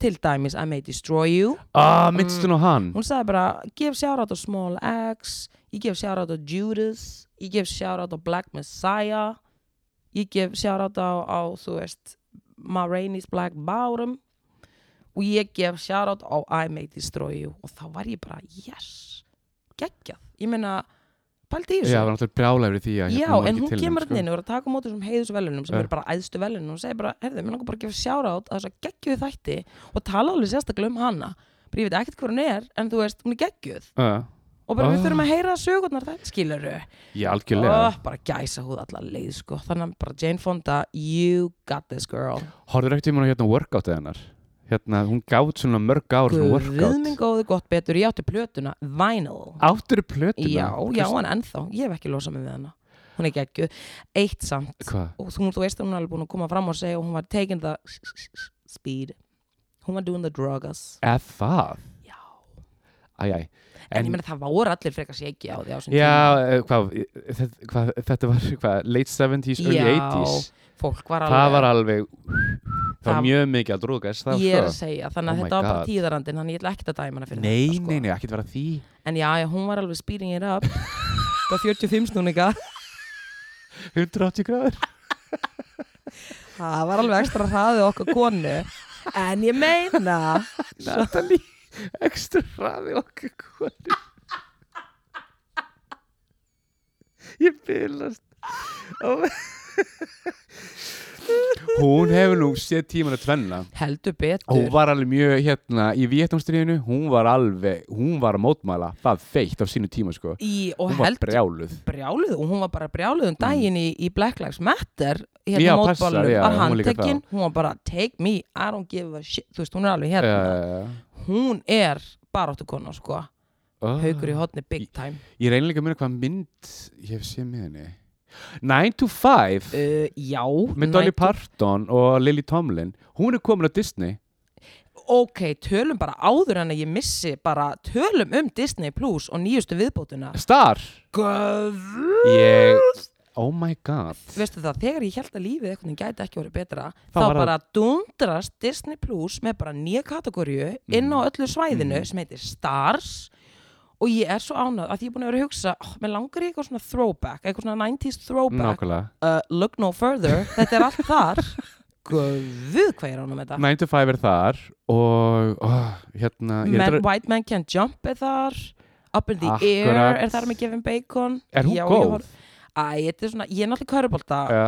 Speaker 1: til dæmis I may destroy you
Speaker 2: ah, mittstun og hann
Speaker 1: hún sagði bara gef sjárát á Small Axe ég gef sjárát á Judas ég gef sjárát á Black Messiah ég gef sjárát á, á þú veist Ma Rainey's Black Bottom og ég gef sjárát á I May Destroy You og þá var ég bara yes, geggjað ég meina, pældi í
Speaker 2: já,
Speaker 1: þessu
Speaker 2: það var náttúrulega brjálæfri því að
Speaker 1: Já,
Speaker 2: hérna var
Speaker 1: en
Speaker 2: ekki
Speaker 1: hún
Speaker 2: tilnefnd,
Speaker 1: kemur
Speaker 2: sko.
Speaker 1: hérna inn og er að taka á móti þessum heiðusvelunum sem
Speaker 2: Ja.
Speaker 1: eru bara æðstu velunum og segir bara, herðu, mér langar bara að gefa sjárát að þess að geggjuð þætti og tala alveg sérstaklega um hana bara ég veit ekkert hvað hún er, en þú veist, hún er geggjuð
Speaker 2: Já,
Speaker 1: og bara
Speaker 2: Ah.
Speaker 1: við þurfum að heyra sögurnar það skiluru,
Speaker 2: já, algjörlega
Speaker 1: oh, bara gæsa húð allar leið sko, þannig að bara Jane Fonda you got this girl
Speaker 2: Horður ekkert tíma á hérna workoutið hennar Hérna, hún gátt svona mörg ár svona
Speaker 1: Guðminn
Speaker 2: workout
Speaker 1: góði gott betur, ég átti plötuna Vinyl,
Speaker 2: Áttur í plötuna
Speaker 1: já, já,
Speaker 2: Hvers-
Speaker 1: en ennþá ég hef ekki losað mig við hana, hún er geggjuð eitt samt,
Speaker 2: Hvað?
Speaker 1: og þú, þú veist að hún er alveg búin að koma fram og segja og hún var taking the speed hún var doing the drugs
Speaker 2: Eða það?
Speaker 1: já,
Speaker 2: Æ, æ
Speaker 1: en, ég meina það voru allir frekar séki á því á þessum
Speaker 2: Já, eh, hvað, eh, þetta, hvað, þetta var hvað, late 70s, early
Speaker 1: Já, tíma
Speaker 2: 80s
Speaker 1: fólk var alveg
Speaker 2: Það var alveg Það var
Speaker 1: Það-
Speaker 2: mjög mikið að drúgast það,
Speaker 1: ég er um að
Speaker 2: sko.
Speaker 1: segja, þannig að
Speaker 2: Oh my
Speaker 1: þetta var bara
Speaker 2: God.
Speaker 1: tíðarandin þannig ég ætla ekkert að dæma hana fyrir
Speaker 2: Nei,
Speaker 1: þetta sko.
Speaker 2: nei, nei, ekkert vera því
Speaker 1: en já, já, hún var alveg speeding it up það 45 snúninga
Speaker 2: 180 gráður
Speaker 1: það var alveg ekstra hraðið okkar konu en ég meina
Speaker 2: Natalie, ekstra hraði okkur konu Ég bylast Ó. Hún hefur nú séð tíman að tvenna
Speaker 1: heldur
Speaker 2: Og Hún
Speaker 1: betur
Speaker 2: var alveg mjög hérna í Vietnamstríðinu, hún var alveg, hún var að mótmæla, það feitt á sínu tíma sko.
Speaker 1: í, og
Speaker 2: Hún var
Speaker 1: heldur
Speaker 2: brjáluð.
Speaker 1: brjáluð og hún var bara brjáluð um daginn í, í Black Lives Matter hérna
Speaker 2: Mm. Já,
Speaker 1: já,
Speaker 2: passar,
Speaker 1: mótbólum,
Speaker 2: já,
Speaker 1: var
Speaker 2: hún var líka
Speaker 1: handtekinn hún var bara take me, I don't give a shit þú veist, hún er alveg
Speaker 2: Uh,
Speaker 1: hérna hún er baráttukona sko
Speaker 2: oh.
Speaker 1: haukur í hotni big time
Speaker 2: Ég reynir líka að muna hvað mynd ég hef séð með henni. 9 to 5
Speaker 1: uh, já,
Speaker 2: með Dolly
Speaker 1: 90
Speaker 2: Parton og Lily Tomlin, hún er komin á Disney.
Speaker 1: ok, tölum bara áður en að ég missi bara tölum um Disney Plus og nýjustu viðbótuna
Speaker 2: Star!
Speaker 1: Guð
Speaker 2: Ég, oh my god.
Speaker 1: veistu það, þegar ég held að lífið eitthvað gæti ekki verið betra, þá,
Speaker 2: var það-
Speaker 1: bara dundrast Disney Plus með bara nýja kategóriu inn
Speaker 2: Mm.
Speaker 1: á öllu svæðinu sem heitir Stars og ég er svo ánað að því ég er búin að vera að hugsa oh, mér langar í eitthvað svona throwback, eitthvað svona 90s throwback
Speaker 2: Nákvæmlega.
Speaker 1: uh, look no further, þetta er allt þar guð hvað ég er ánað með þetta
Speaker 2: 9 to 5 er þar og oh, hérna,
Speaker 1: man,
Speaker 2: ég heldur að,
Speaker 1: White Man Can't Jump er þar Up in the
Speaker 2: Akkurat.
Speaker 1: Air er þar með Kevin Bacon
Speaker 2: er hún
Speaker 1: Já, ég
Speaker 2: góð?
Speaker 1: horf- Æ, þetta er svona, ég er náttúrulega körubólta
Speaker 2: Já,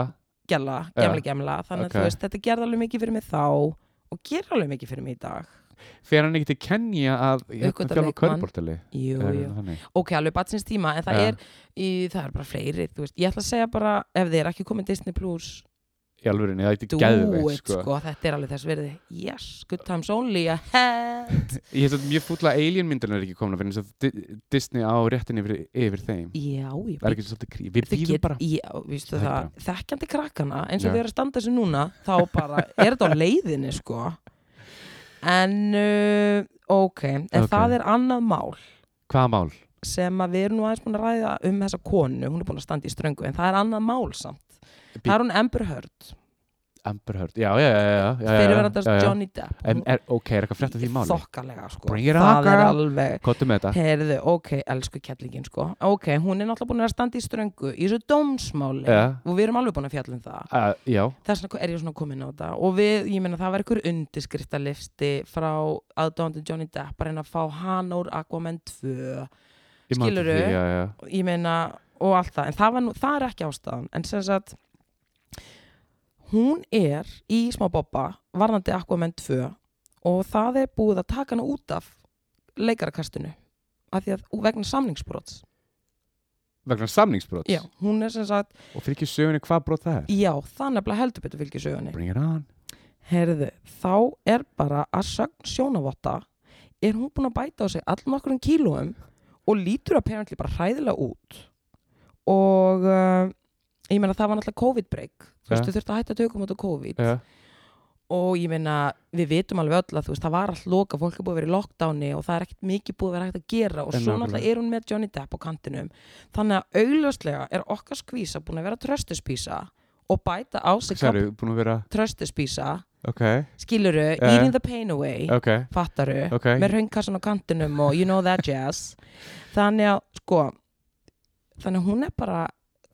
Speaker 1: gemla,
Speaker 2: Já.
Speaker 1: gemla, gemla þannig að
Speaker 2: Ok.
Speaker 1: þú veist, þetta gerði alveg mikið fyrir mig þá og gerði alveg mikið fyrir mig í dag
Speaker 2: fyrir hann ekki til Kenya að
Speaker 1: Uppgötva
Speaker 2: hérna, þjálfa
Speaker 1: leikmann.
Speaker 2: körbortali?
Speaker 1: jú, jú, ok, alveg batsins tíma en það
Speaker 2: hérna. Já.
Speaker 1: er, í, það er bara fleiri þú veist, ég ætla að segja bara, ef þið er ekki komið Disney Plus,
Speaker 2: í alvörinni, það
Speaker 1: do
Speaker 2: eitthvað geðveikt
Speaker 1: it,
Speaker 2: sko.
Speaker 1: sko. þetta er alveg þess verði yes, good times only ahead
Speaker 2: ég hef þetta mjög fúll að Alien myndin er ekki komin að finna þess að Di- Disney á réttin yfir, yfir þeim
Speaker 1: já, ég
Speaker 2: það er ekki svolítið krí, við
Speaker 1: Þau
Speaker 2: býðum
Speaker 1: get-
Speaker 2: bara
Speaker 1: já, vístu
Speaker 2: Það er
Speaker 1: það, þekkjandi krakkana eins og
Speaker 2: Já.
Speaker 1: þau eru að standa sér núna þá bara, er þetta á leiðinni sko en uh, ok, en
Speaker 2: Ok.
Speaker 1: það er annað mál
Speaker 2: hvaða mál,
Speaker 1: sem að við erum nú aðeins búin að ræða um þessa konu, hún er búin að standa í ströngu en það er annað mál samt
Speaker 2: Bí-
Speaker 1: það er hún Amber Heard
Speaker 2: Amber Heard, já, já, já, já, já, já,
Speaker 1: fyrirverðandast
Speaker 2: já, já.
Speaker 1: Johnny Depp
Speaker 2: En er, ok, er eitthvað frétt af því máli?
Speaker 1: þokkalega sko
Speaker 2: Bring it on,
Speaker 1: það er
Speaker 2: girl.
Speaker 1: alveg
Speaker 2: Kottum með þetta
Speaker 1: Heyrðu, ok, elsku kettlingin sko Ok, hún er náttúrulega búin að vera að standa í ströngu Í þessu dómsmáli
Speaker 2: Já.
Speaker 1: Og við erum alveg búin að fjalla um það
Speaker 2: uh, Já,
Speaker 1: Þess vegna er ég svona komin á þetta Og við, ég meina það var einhver undirskriftalifti Frá aðdóndi Johnny Depp Að reyna að fá hann úr Aquaman 2
Speaker 2: ég man
Speaker 1: Skilurðu?
Speaker 2: eftir því, Já, já,
Speaker 1: ég meina og allt það, en það, var nú, það er ekki ástæðan en sem sagt hún er í smá bobba varðandi Aquaman 2 og það er búið að taka hana út af leikarakastinu af því að vegna samningsbrots
Speaker 2: vegna samningsbrot
Speaker 1: já, hún er sem sagt,
Speaker 2: Og fyrir ekki sögunni hvað brot það er
Speaker 1: já, það nefnilega heldur betur fylgir sögunni
Speaker 2: Bring it on
Speaker 1: herðu, þá er bara að sögn sjónavotta er hún búin að bæta á sig allnokkur um kílóum og lítur apparently bara hræðilega út og uh, ég meina það var náttúrulega COVID-break þú veist,
Speaker 2: Ja.
Speaker 1: þú þurft að hætta að tökum út á COVID
Speaker 2: Já,
Speaker 1: og ég meina, við vitum alveg öll að þú veist, það var allt loka, fólk er búið að vera í lockdowni og það er ekkert mikið búið að vera hægt að gera og
Speaker 2: En
Speaker 1: svo
Speaker 2: nákvæmlega.
Speaker 1: náttúrulega er hún með Johnny Depp á kantinum þannig að augljóslega er okkar skvísa búin að vera tröstuspísa og bæta á sig
Speaker 2: sérðu, búin að vera
Speaker 1: tröstuspísa
Speaker 2: Ok,
Speaker 1: skiluru,
Speaker 2: Já.
Speaker 1: eating the pain away
Speaker 2: ok
Speaker 1: fattaru,
Speaker 2: Ok.
Speaker 1: með raungkassan á kantinum og you know that jazz þannig að sko þannig að hún er bara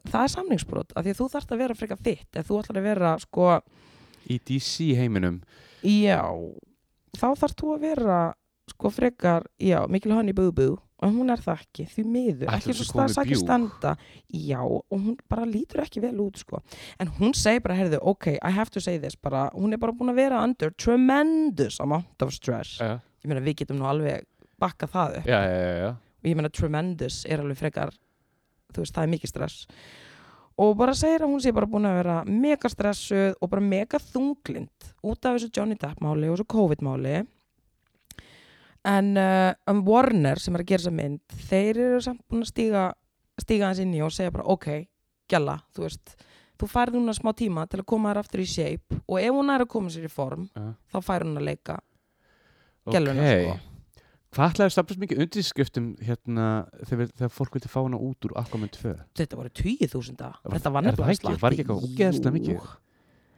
Speaker 1: það er samningsbrot, af því að þú þarft að vera frekar þitt ef þú ætlar að vera sko
Speaker 2: Í DC heiminum
Speaker 1: já, þá þarft þú að vera sko frekar, já, mikil hann í búbú og hún er það ekki, því miður
Speaker 2: Ætli
Speaker 1: ekki
Speaker 2: þessi
Speaker 1: svo stað
Speaker 2: konu
Speaker 1: sækir
Speaker 2: bjúg?
Speaker 1: standa já, og hún bara lítur ekki vel út sko, en hún segir bara herðu, ok, I have to say this bara, hún er bara búin að vera under tremendous amount of stress
Speaker 2: Já,
Speaker 1: ég meina við getum nú alveg bakka það upp
Speaker 2: já, já, já, já.
Speaker 1: og ég meina tremendous er alveg frekar þú veist það er mikið stress og bara segir að hún sé bara búin að vera mega stressuð og bara mega þunglind út af þessu Johnny Depp máli og þessu COVID máli en uh, um Warner sem er að gera þessa mynd þeir eru samt búin að stíga stíga hans inn í og segja bara ok gjalla, þú veist þú færði núna smá tíma til að koma þér aftur í shape og ef hún er að koma sér í form
Speaker 2: Já.
Speaker 1: þá fær hún að leika Geluna,
Speaker 2: Ok Hvað ætlaði að stafnast mikið undirskiptum hérna þegar, þegar fólk vildi fá hana út úr Aquaman 2?
Speaker 1: þetta voru tíu þúsunda
Speaker 2: Var-
Speaker 1: þetta var
Speaker 2: er það
Speaker 1: nefnilega
Speaker 2: ekki? Var ekki eitthvað ógeðslega
Speaker 1: Jú.
Speaker 2: mikið?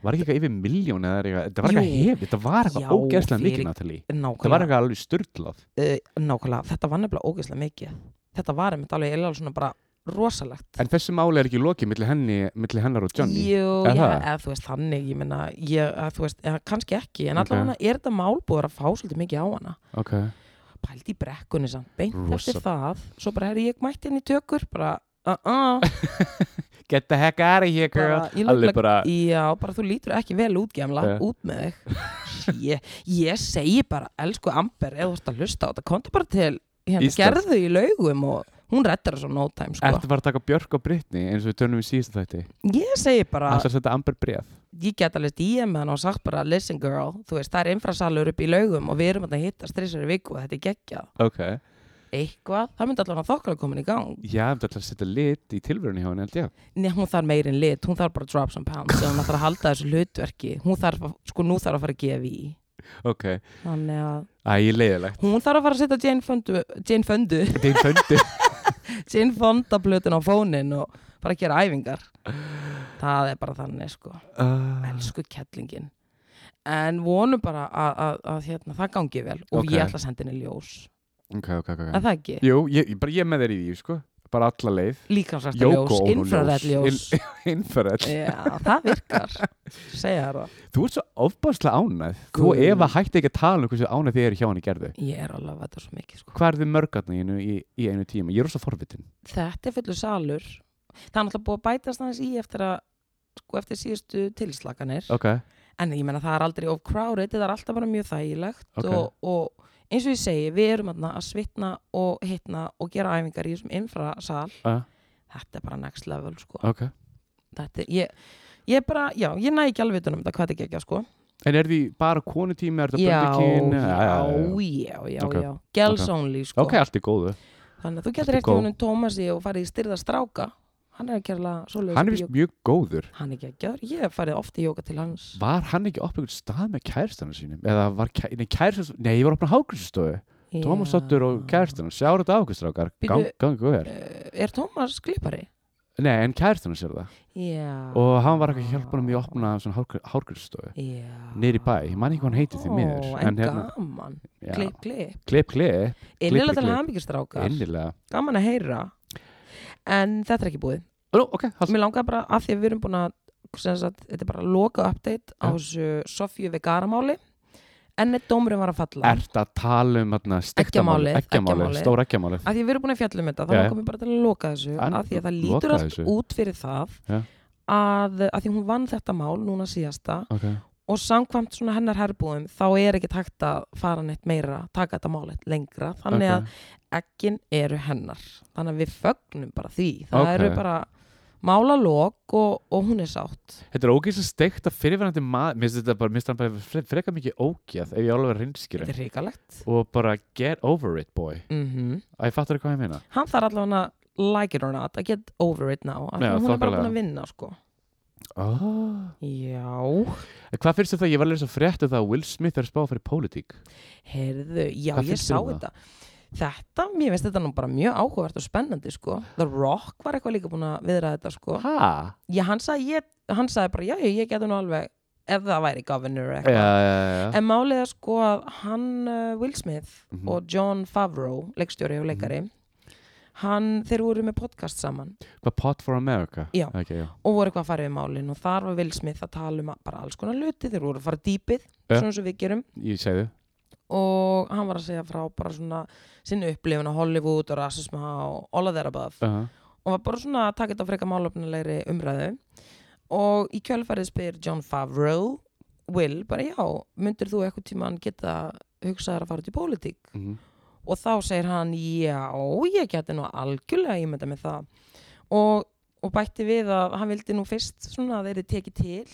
Speaker 2: Var ekki eitthvað yfir miljón eða er eitthvað, þetta var eitthvað
Speaker 1: Jú.
Speaker 2: hefið, þetta var eitthvað
Speaker 1: Já,
Speaker 2: ógeðslega
Speaker 1: fyrir-
Speaker 2: mikið Natalie. Það var
Speaker 1: nákvæmlega,
Speaker 2: eitthvað alveg styrlað.
Speaker 1: uh, nákvæmlega þetta var nefnilega ógeðslega mikið þetta var einmitt alveg eiginlega svona bara rosalegt
Speaker 2: En þessu máli er ekki lokið milli, henni, milli hennar og Eh, Johnny.
Speaker 1: Jú,
Speaker 2: Er
Speaker 1: já,
Speaker 2: það?
Speaker 1: eða þú veist þannig ég meina, ég, eða, þú veist, eða, kannski ekki en
Speaker 2: Ok.
Speaker 1: allavega er þetta mál búið að fá svolítið mikið á hana
Speaker 2: Ok,
Speaker 1: pælt í brekkunni samt, beint
Speaker 2: Rosa.
Speaker 1: eftir það svo bara herri ég mætti henni í tökur bara, uh -uh,
Speaker 2: get the heck out of here girl.
Speaker 1: bara, ég look
Speaker 2: Alveg
Speaker 1: like-
Speaker 2: bara,
Speaker 1: já, bara þú lítur ekki vel út gemla,
Speaker 2: Já.
Speaker 1: út með þig ég, ég segi bara, elsku Amber ef þú ert að hlusta á þetta, konta bara til hérna,
Speaker 2: Íslands.
Speaker 1: gerðu í laugum og hún rettar þessu á no time sko.
Speaker 2: ertu bara að taka Björk og Brittany eins og við tönum í síðasta þætti?
Speaker 1: Ég segi bara,
Speaker 2: Ætlar að setja Amber bref?
Speaker 1: ég get alveg DM hann og sagt bara listen girl, þú veist, það er infrasalur upp í laugum og við erum að hitta stressari viku og þetta er geggjað.
Speaker 2: Ok.
Speaker 1: Eitthvað, það myndi allavega þokkala komin í gang.
Speaker 2: Já, þetta ætlar að setja lit í tilverunni hjá henni, held ég.
Speaker 1: Nei, hún þarf meirinn lit, hún þarf bara drop some pounds og hún þarf að halda þessu hlutverki. Hún þarf, að- sko, nú þarf að fara að gefa í.
Speaker 2: Ok.
Speaker 1: Þannig að
Speaker 2: Æ, ég er leiðilegt.
Speaker 1: hún þarf að fara að setja Jane Fondu, Jane Fondu,
Speaker 2: Þetta er föndi.
Speaker 1: Jane Fonda plötin á fónin og fara að gera æfingar. Það er bara þannig, sko.
Speaker 2: Uh,
Speaker 1: elsku kettlingin en vonum bara að, að, að hérna, það gangi vel og
Speaker 2: Ok.
Speaker 1: ég ætla að senda henni ljós
Speaker 2: ok, ok, ok.
Speaker 1: en það ekki,
Speaker 2: Jú, ég, ég- bara ég er með þér í því, sko. Bara alla leið.
Speaker 1: líkansræsta
Speaker 2: Jóko
Speaker 1: ljós
Speaker 2: ónú ljós.
Speaker 1: infrarætt ljós
Speaker 2: Innferðall.
Speaker 1: Já, það virkar segja það,
Speaker 2: Þú ert svo ofbáslega ánæð. Þú
Speaker 1: Guð.
Speaker 2: ef að hætti ekki að tala um hversu ánæð þið eru hjá hann í gerðu.
Speaker 1: ég er alveg að þetta svo mikið sko.
Speaker 2: Hvað er þið mörgarni í, einu- í, í einu tíma? Ég er rosa forvitin.
Speaker 1: þetta er fullur salur það er náttúrulega búið að bætast hans í eftir að sko eftir síðustu tilslaganir
Speaker 2: Ok.
Speaker 1: en ég menna það er aldrei overcrowded það er alltaf bara mjög þægilegt
Speaker 2: Ok.
Speaker 1: og, og eins og ég segi, við erum þarna að svitna og hitna og gera æfingar í þessum infrasal
Speaker 2: Uh,
Speaker 1: þetta er bara next level sko.
Speaker 2: ok.
Speaker 1: þetta, er- ég, ég bara, já, ég næ ekki alveg utan um þetta hvað þetta gekk, sko
Speaker 2: En er því bara konutími? Er þetta
Speaker 1: já,
Speaker 2: böndikinn?
Speaker 1: já, já, já,
Speaker 2: Ok,
Speaker 1: já girls
Speaker 2: ok.
Speaker 1: only, sko
Speaker 2: Ok, allt er góðu.
Speaker 1: þannig að þú getur
Speaker 2: Ertu
Speaker 1: eftir
Speaker 2: góð?
Speaker 1: honum Tómasi og farið í styrða stráka hann er kjærlega svoleiðis
Speaker 2: Hann er vist
Speaker 1: bíó-
Speaker 2: mjög góður.
Speaker 1: hann er geggjör, ég hef farið oft í jóka til hans
Speaker 2: Var hann ekki opnað einhvern stað með kærstana sínum? Eða var kæ... Nei, kærstana... Nei, ég var opnað hákursustofu.
Speaker 1: Já.
Speaker 2: Tómas Dottur og kærstana. Sjáur þetta ákvæmstrákar.
Speaker 1: Bíddu,
Speaker 2: Gangu verð.
Speaker 1: Eh, er Tómas klippari?
Speaker 2: Nei, en kærtunum sér það
Speaker 1: Já.
Speaker 2: og hann var eitthvað að hjálpa hann í að opna svona hárgrunnstofu
Speaker 1: Já.
Speaker 2: niður í bæ, ég man ekki hvað hann heitir því miður hérna-
Speaker 1: Ó, en gaman.
Speaker 2: já,
Speaker 1: Klipp, klipp.
Speaker 2: klipp, klipp,
Speaker 1: Innilega til
Speaker 2: klipp.
Speaker 1: hamingistrákar.
Speaker 2: innilega
Speaker 1: Gaman að heyra. En þetta er ekki búið.
Speaker 2: Ó, ok, hald
Speaker 1: Mér langaði bara að því að við erum búin að sem sagt, þetta er bara loka update á
Speaker 2: Já.
Speaker 1: þessu Sofju Vegaramáli en neitt dómurinn var að falla
Speaker 2: Ert að tala um hérna,
Speaker 1: Eggjamálið,
Speaker 2: stektamálið,
Speaker 1: eggjamálið.
Speaker 2: eggjamálið, stór eggjamálið
Speaker 1: að því að við erum búin að fjalla um þetta,
Speaker 2: Já,
Speaker 1: þá
Speaker 2: já.
Speaker 1: komum við bara til að loka þessu
Speaker 2: En-
Speaker 1: að því að það
Speaker 2: loka
Speaker 1: lítur allt
Speaker 2: þessu.
Speaker 1: út fyrir það
Speaker 2: Já.
Speaker 1: að, að því hún vann þetta mál núna síðasta
Speaker 2: Ok,
Speaker 1: og samkvæmt svona hennar herbúðum þá er ekki takt að fara neitt meira taka þetta mál eitt lengra þannig
Speaker 2: ok.
Speaker 1: að ekkin eru hennar þannig að við fögnum bara því það
Speaker 2: Ok.
Speaker 1: eru bara málalok og, og hún er sátt
Speaker 2: Þetta er ógeðslega steikt að fyrirverandi maður Mér finnst þetta bara, mér finnst hann bara fre- frekar mikið ógeð ef ég alveg er
Speaker 1: þetta
Speaker 2: reynskýrun
Speaker 1: er ríkalegt
Speaker 2: og bara get over it boy
Speaker 1: mm
Speaker 2: Æ, fattar hvað ég meina?
Speaker 1: hann þarf allavega að like it or not að get over it now af því
Speaker 2: Já,
Speaker 1: að hún er bara
Speaker 2: þokkalega.
Speaker 1: búin að vinna sko Ah.
Speaker 2: Oh.
Speaker 1: já,
Speaker 2: Hvað finnst þér það? Ég var að lesa frétt um það að Will Smith er að spá fyrir pólitík
Speaker 1: heyrðu, já
Speaker 2: Hvað
Speaker 1: ég
Speaker 2: finnst
Speaker 1: sá
Speaker 2: þér um
Speaker 1: þetta þetta, mér finnst þetta nú bara mjög áhugavert og spennandi sko The Rock var eitthvað líka búin að viðra þetta sko
Speaker 2: Ha?
Speaker 1: já, hann sagði, ég, hann sagði bara, já, já, ég geti nú alveg ef það væri governor eða
Speaker 2: Já,
Speaker 1: eitthvað
Speaker 2: já, já, já.
Speaker 1: en málið er sko að hann uh, Will Smith
Speaker 2: Mhm.
Speaker 1: og John Favreau leikstjóri og leikari hann, þeir voru með podcast saman
Speaker 2: Hvað Pot for America?
Speaker 1: Já.
Speaker 2: Ok, já.
Speaker 1: og voru eitthvað að fara við málin og þar var Will Smith að tala um að- bara alls konar luti, þeir voru að fara dýpið
Speaker 2: Ja.
Speaker 1: svona eins og við gerum
Speaker 2: Ég segi þau
Speaker 1: og hann var að segja frá bara svona sinni upplifun á Hollywood og rasisma og all of that above
Speaker 2: uh -huh.
Speaker 1: og var bara svona að taka þetta freka málöfnilegri umræðu og í kjölfærið spyr John Favreau Will, bara já, myndir þú eitthvað tíman geta hugsaðar að fara út í pólitík
Speaker 2: mm
Speaker 1: og þá segir hann, já, ég geti nú algjörlega ímynda með það og, og bætti við að hann vildi nú fyrst svona að þeir eru tekið til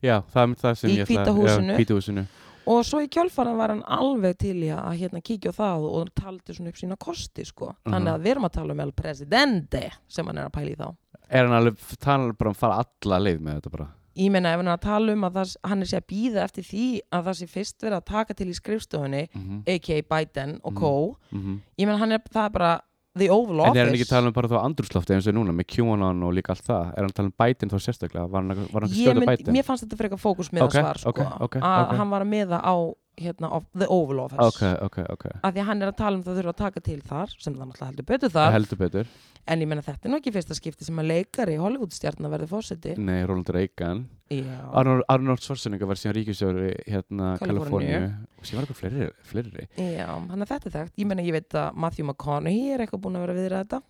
Speaker 2: Já, það er mitt það sem
Speaker 1: Í
Speaker 2: ég
Speaker 1: hvíta húsinu.
Speaker 2: Hvíta húsinu
Speaker 1: og svo í kjölfærið var hann alveg til í að hérna kíkja á það og taldi svona upp sína kosti sko, þannig að við erum að tala um el presidente sem hann er að pæla í þá
Speaker 2: Er hann alveg, talar bara um að fara alla leið með þetta bara
Speaker 1: ég meina ef hann er að tala um að það, hann er sér að býða eftir því að það sé fyrst verið að taka til í skrifstofunni
Speaker 2: mm -hmm.
Speaker 1: a.k.a. Biden og Co
Speaker 2: Mhm.
Speaker 1: ég meina hann er, það er bara the Oval
Speaker 2: Mm. En
Speaker 1: Office
Speaker 2: er hann ekki að tala um bara þá andrúslofti eins og núna með QAnon og líka allt það Er hann að tala um Biden þá sérstaklega? Var hann að, var hann að
Speaker 1: Ég
Speaker 2: stjóta
Speaker 1: mynd,
Speaker 2: Biden?
Speaker 1: mér fannst þetta frekar fókus með
Speaker 2: Ok,
Speaker 1: það svar sko,
Speaker 2: ok, ok,
Speaker 1: að
Speaker 2: ok.
Speaker 1: hann var að miða á hérna, of, the Oval Office
Speaker 2: Ok, ok, ok
Speaker 1: að því að hann er að tala um það þurfa að taka til þar sem það náttúrulega heldur betur
Speaker 2: Það
Speaker 1: þar
Speaker 2: heldur betur
Speaker 1: en ég meina þetta er nú ekki fyrsta skipti sem að leikari Hollywoodstjarnar verði fósiti
Speaker 2: Nei, Ronald Reagan
Speaker 1: já,
Speaker 2: Arnold, Arnold Schwarzenegger var síðan ríkisjóri hérna
Speaker 1: Kaliforníu.
Speaker 2: Kaliforníu og síðan var eitthvað fleiri, fleiri
Speaker 1: já, hann er þetta er þekkt ég meina ég veit að Matthew McConaughey er eitthvað búin að vera að viðra þetta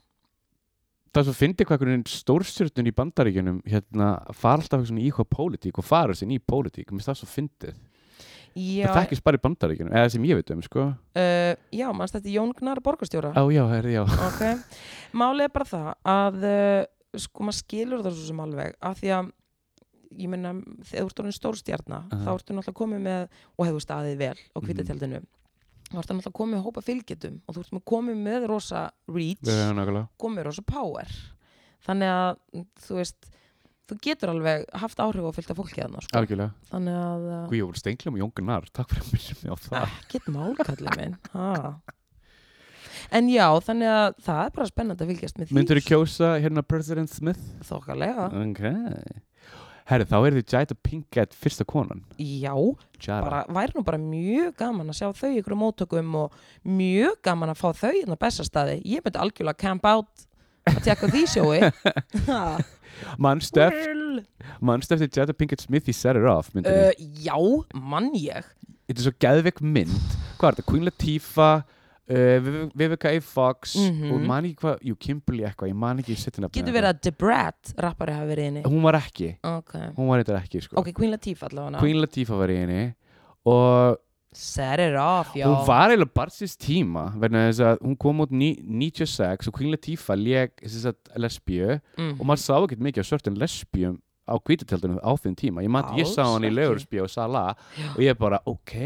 Speaker 2: Það er svo fyndi hvað einhvern veginn stórstjörnun í bandaríkjunum hérna fara alltaf eitthvað svona í hvað pólitík og fara þessi í pólitík, mér finnst það svo fyndið
Speaker 1: Já,
Speaker 2: Það þekkist bara í bandaríkjunum, eða sem ég veit um, sko
Speaker 1: Uh, já, mannst þetta Jón Gnar borgarstjóra
Speaker 2: Á, já, herri, já
Speaker 1: okay. Málið er bara það að uh, sko maður skilur það svo sem alveg af því að ég meina þegar þú ert orðin stórstjarna
Speaker 2: Aha. Mhm.
Speaker 1: þá ertu náttúrulega komið með og hefur staðið vel á kvítatjaldinu þá ertu náttúrulega komið með hópa fylgjetum og þú ert með komið með rosa reach
Speaker 2: Já, nákvæmlega
Speaker 1: komið með rosa power þannig að mm, þú veist þú getur alveg haft áhrif á fylgta fólki þarna sko.
Speaker 2: Algjörlega
Speaker 1: þannig að uh,
Speaker 2: Guð, ég voru stenglum og jóngunar, takk fyrir að minna mig á það
Speaker 1: ekkert málkallið minn ha. en já, þannig að það er bara spennandi að fylgjast með því
Speaker 2: Myndur þú kjósa hérna President Smith?
Speaker 1: þokkalega,
Speaker 2: Ok Herri, þá er þið Jada Pinkett fyrsta konan
Speaker 1: já
Speaker 2: Jada
Speaker 1: bara, væri nú bara mjög gaman að sjá þau ykkur um móttökum og mjög gaman að fá þau inn á bestastæði, ég myndi algjörlega camp out að tekka því sjói Ha,
Speaker 2: Manstu eftir-
Speaker 1: well.
Speaker 2: manstu eftir Jada Pinkett Smith í Set It Off myndinni?
Speaker 1: uh, já, mann ég
Speaker 2: þetta er svo geðveik mynd hvað er þetta, Queen Latifah uh, Vivica A. Fox
Speaker 1: Mhm.
Speaker 2: og ég man ekki hvað, jú, Kimberly eitthvað ég man ekki setja nafnið
Speaker 1: getur verið að Debrat rappari hafi verið inni
Speaker 2: hún var ekki,
Speaker 1: ok,
Speaker 2: hún var eitthvað ekki sko.
Speaker 1: ok, Queen Latifah allavega
Speaker 2: Queen Latifah var í henni og
Speaker 1: set it off, já
Speaker 2: hún var eiginlega barnsins tíma vegna þess að hún kom út ní- 96 og Queen Latifah lék þess að lesbíu
Speaker 1: Mhm.
Speaker 2: og maður sá ekkert mikið af svörtum lesbíum á hvítatjaldunum á þeim tíma ég, man, ég
Speaker 1: Alls
Speaker 2: sá hann í
Speaker 1: ekki.
Speaker 2: Leigursbíu og Sala
Speaker 1: Já.
Speaker 2: og ég bara ok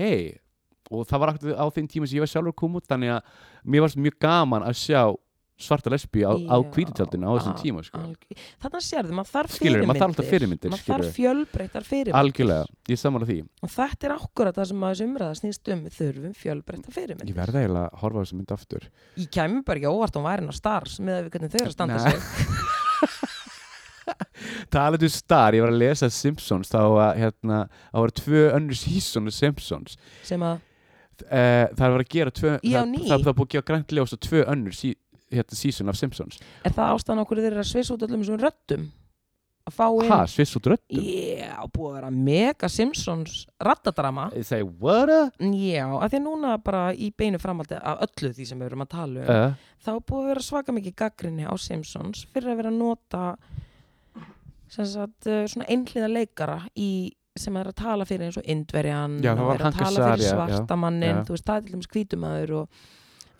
Speaker 2: og það var akkur á þeim tíma sem ég var sjálfur kom út þannig að mér varst mjög gaman að sjá svarta lesbíu á, á
Speaker 1: Já,
Speaker 2: hvítatjaldinu á þessum
Speaker 1: al-
Speaker 2: tíma sko.
Speaker 1: algjör- þarna sérðu, maður þarf
Speaker 2: skilur,
Speaker 1: fyrirmyndir
Speaker 2: maður þarf alltaf fyrirmyndir
Speaker 1: maður þarf
Speaker 2: skilurðu.
Speaker 1: fjölbreyttar fyrirmyndir
Speaker 2: algjörlega, ég saman að því
Speaker 1: og þetta er akkurat það sem að þessi umræða snýst um við þurfum fjölbreyttar
Speaker 2: ég
Speaker 1: fyrirmyndir
Speaker 2: verða eiginlega að horfa á þessum mynd aftur
Speaker 1: ég kæmi bara ekki á óvart hún væri ná stars með að við hvernig þau eru að standa
Speaker 2: Nei.
Speaker 1: sig
Speaker 2: Talandu star, ég var að lesa Simpsons þá að hérna, þá voru tvö önnur sísonu Simpsons
Speaker 1: sem að
Speaker 2: uh, það var að gera tvö
Speaker 1: Já,
Speaker 2: það,
Speaker 1: ný.
Speaker 2: það, það var búið að gefa grænt ljós á tvö önnur sí, hérna, síson af Simpsons
Speaker 1: er það ástæðan okkur þeir eru að svissa út öllum þessum röddum að fá inn
Speaker 2: ha, sviss út röddum
Speaker 1: Já, búið að vera mega Simpsons rattadrama
Speaker 2: Ég segi, what a
Speaker 1: Já, af því að núna bara í beinu framaldi af öllu því sem við erum að tala um
Speaker 2: uh,
Speaker 1: þá er búið að vera svaka mikið gaggrinni á Simpsons fyrir að vera að nota sem sagt uh, svona einhliða leikara í, sem er að tala fyrir eins og indverjan
Speaker 2: Já, það
Speaker 1: og
Speaker 2: var
Speaker 1: er að
Speaker 2: Hank
Speaker 1: tala fyrir
Speaker 2: Azaria, já,
Speaker 1: svartamannin
Speaker 2: já.
Speaker 1: þú veist, það er til dæmis hvítumæður og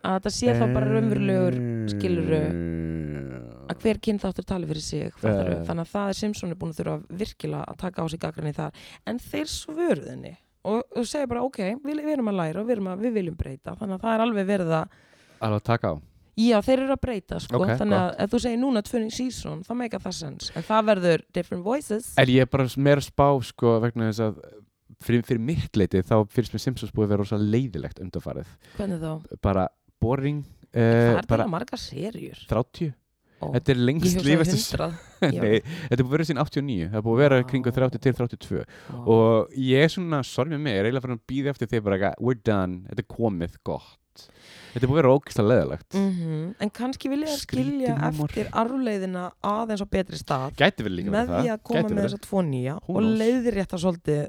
Speaker 1: að þetta sé þá
Speaker 2: Eh.
Speaker 1: bara raunverulegur
Speaker 2: skiluru
Speaker 1: að hver kynþáttur tali fyrir sig fattaru,
Speaker 2: Já.
Speaker 1: þannig að það er Simpson er búin að þurfa virkilega að taka á sig gaggrinni þar en þeir svöruðinni og, og segja bara ok, við, við erum að læra og við, erum að, við viljum breyta þannig að það er alveg verið að
Speaker 2: alveg að taka á
Speaker 1: Já, þeir eru að breyta sko,
Speaker 2: Ok,
Speaker 1: þannig að ef þú segir núna tvöning season, þá meika það sens en það verður different voices
Speaker 2: En ég er bara meira að spá sko vegna þess að fyrir, fyrir mitt leiti þá finnst mér Simpsons búið að vera rosa leiðilegt undarfarið
Speaker 1: Hvernig þá?
Speaker 2: bara boring
Speaker 1: Það
Speaker 2: uh,
Speaker 1: er
Speaker 2: bara
Speaker 1: bara margar serjur
Speaker 2: 30
Speaker 1: Ó,
Speaker 2: Þetta er
Speaker 1: Ég
Speaker 2: lengst
Speaker 1: hugsaði um
Speaker 2: lífast
Speaker 1: 100
Speaker 2: Nei, þetta er búið að vera sín 89 það er búið að vera kringu 30 til 32
Speaker 1: Já.
Speaker 2: og ég er svona, sorry með mig, ég er eiginlega fyrir að býða eftir því bara eitthvað, we're done, þetta er komið gott Þetta er búið að vera ógislega leðilegt
Speaker 1: Mhm. En kannski vilja þær
Speaker 2: Skrítinn
Speaker 1: skilja
Speaker 2: húmor.
Speaker 1: eftir arfleiðina aðeins á betri stað
Speaker 2: Gæti verið líka
Speaker 1: með
Speaker 2: verið
Speaker 1: því að koma
Speaker 2: Gæti
Speaker 1: með
Speaker 2: verið.
Speaker 1: þessa tvo nýja
Speaker 2: Who
Speaker 1: og
Speaker 2: knows?
Speaker 1: leiðir rétt að svolítið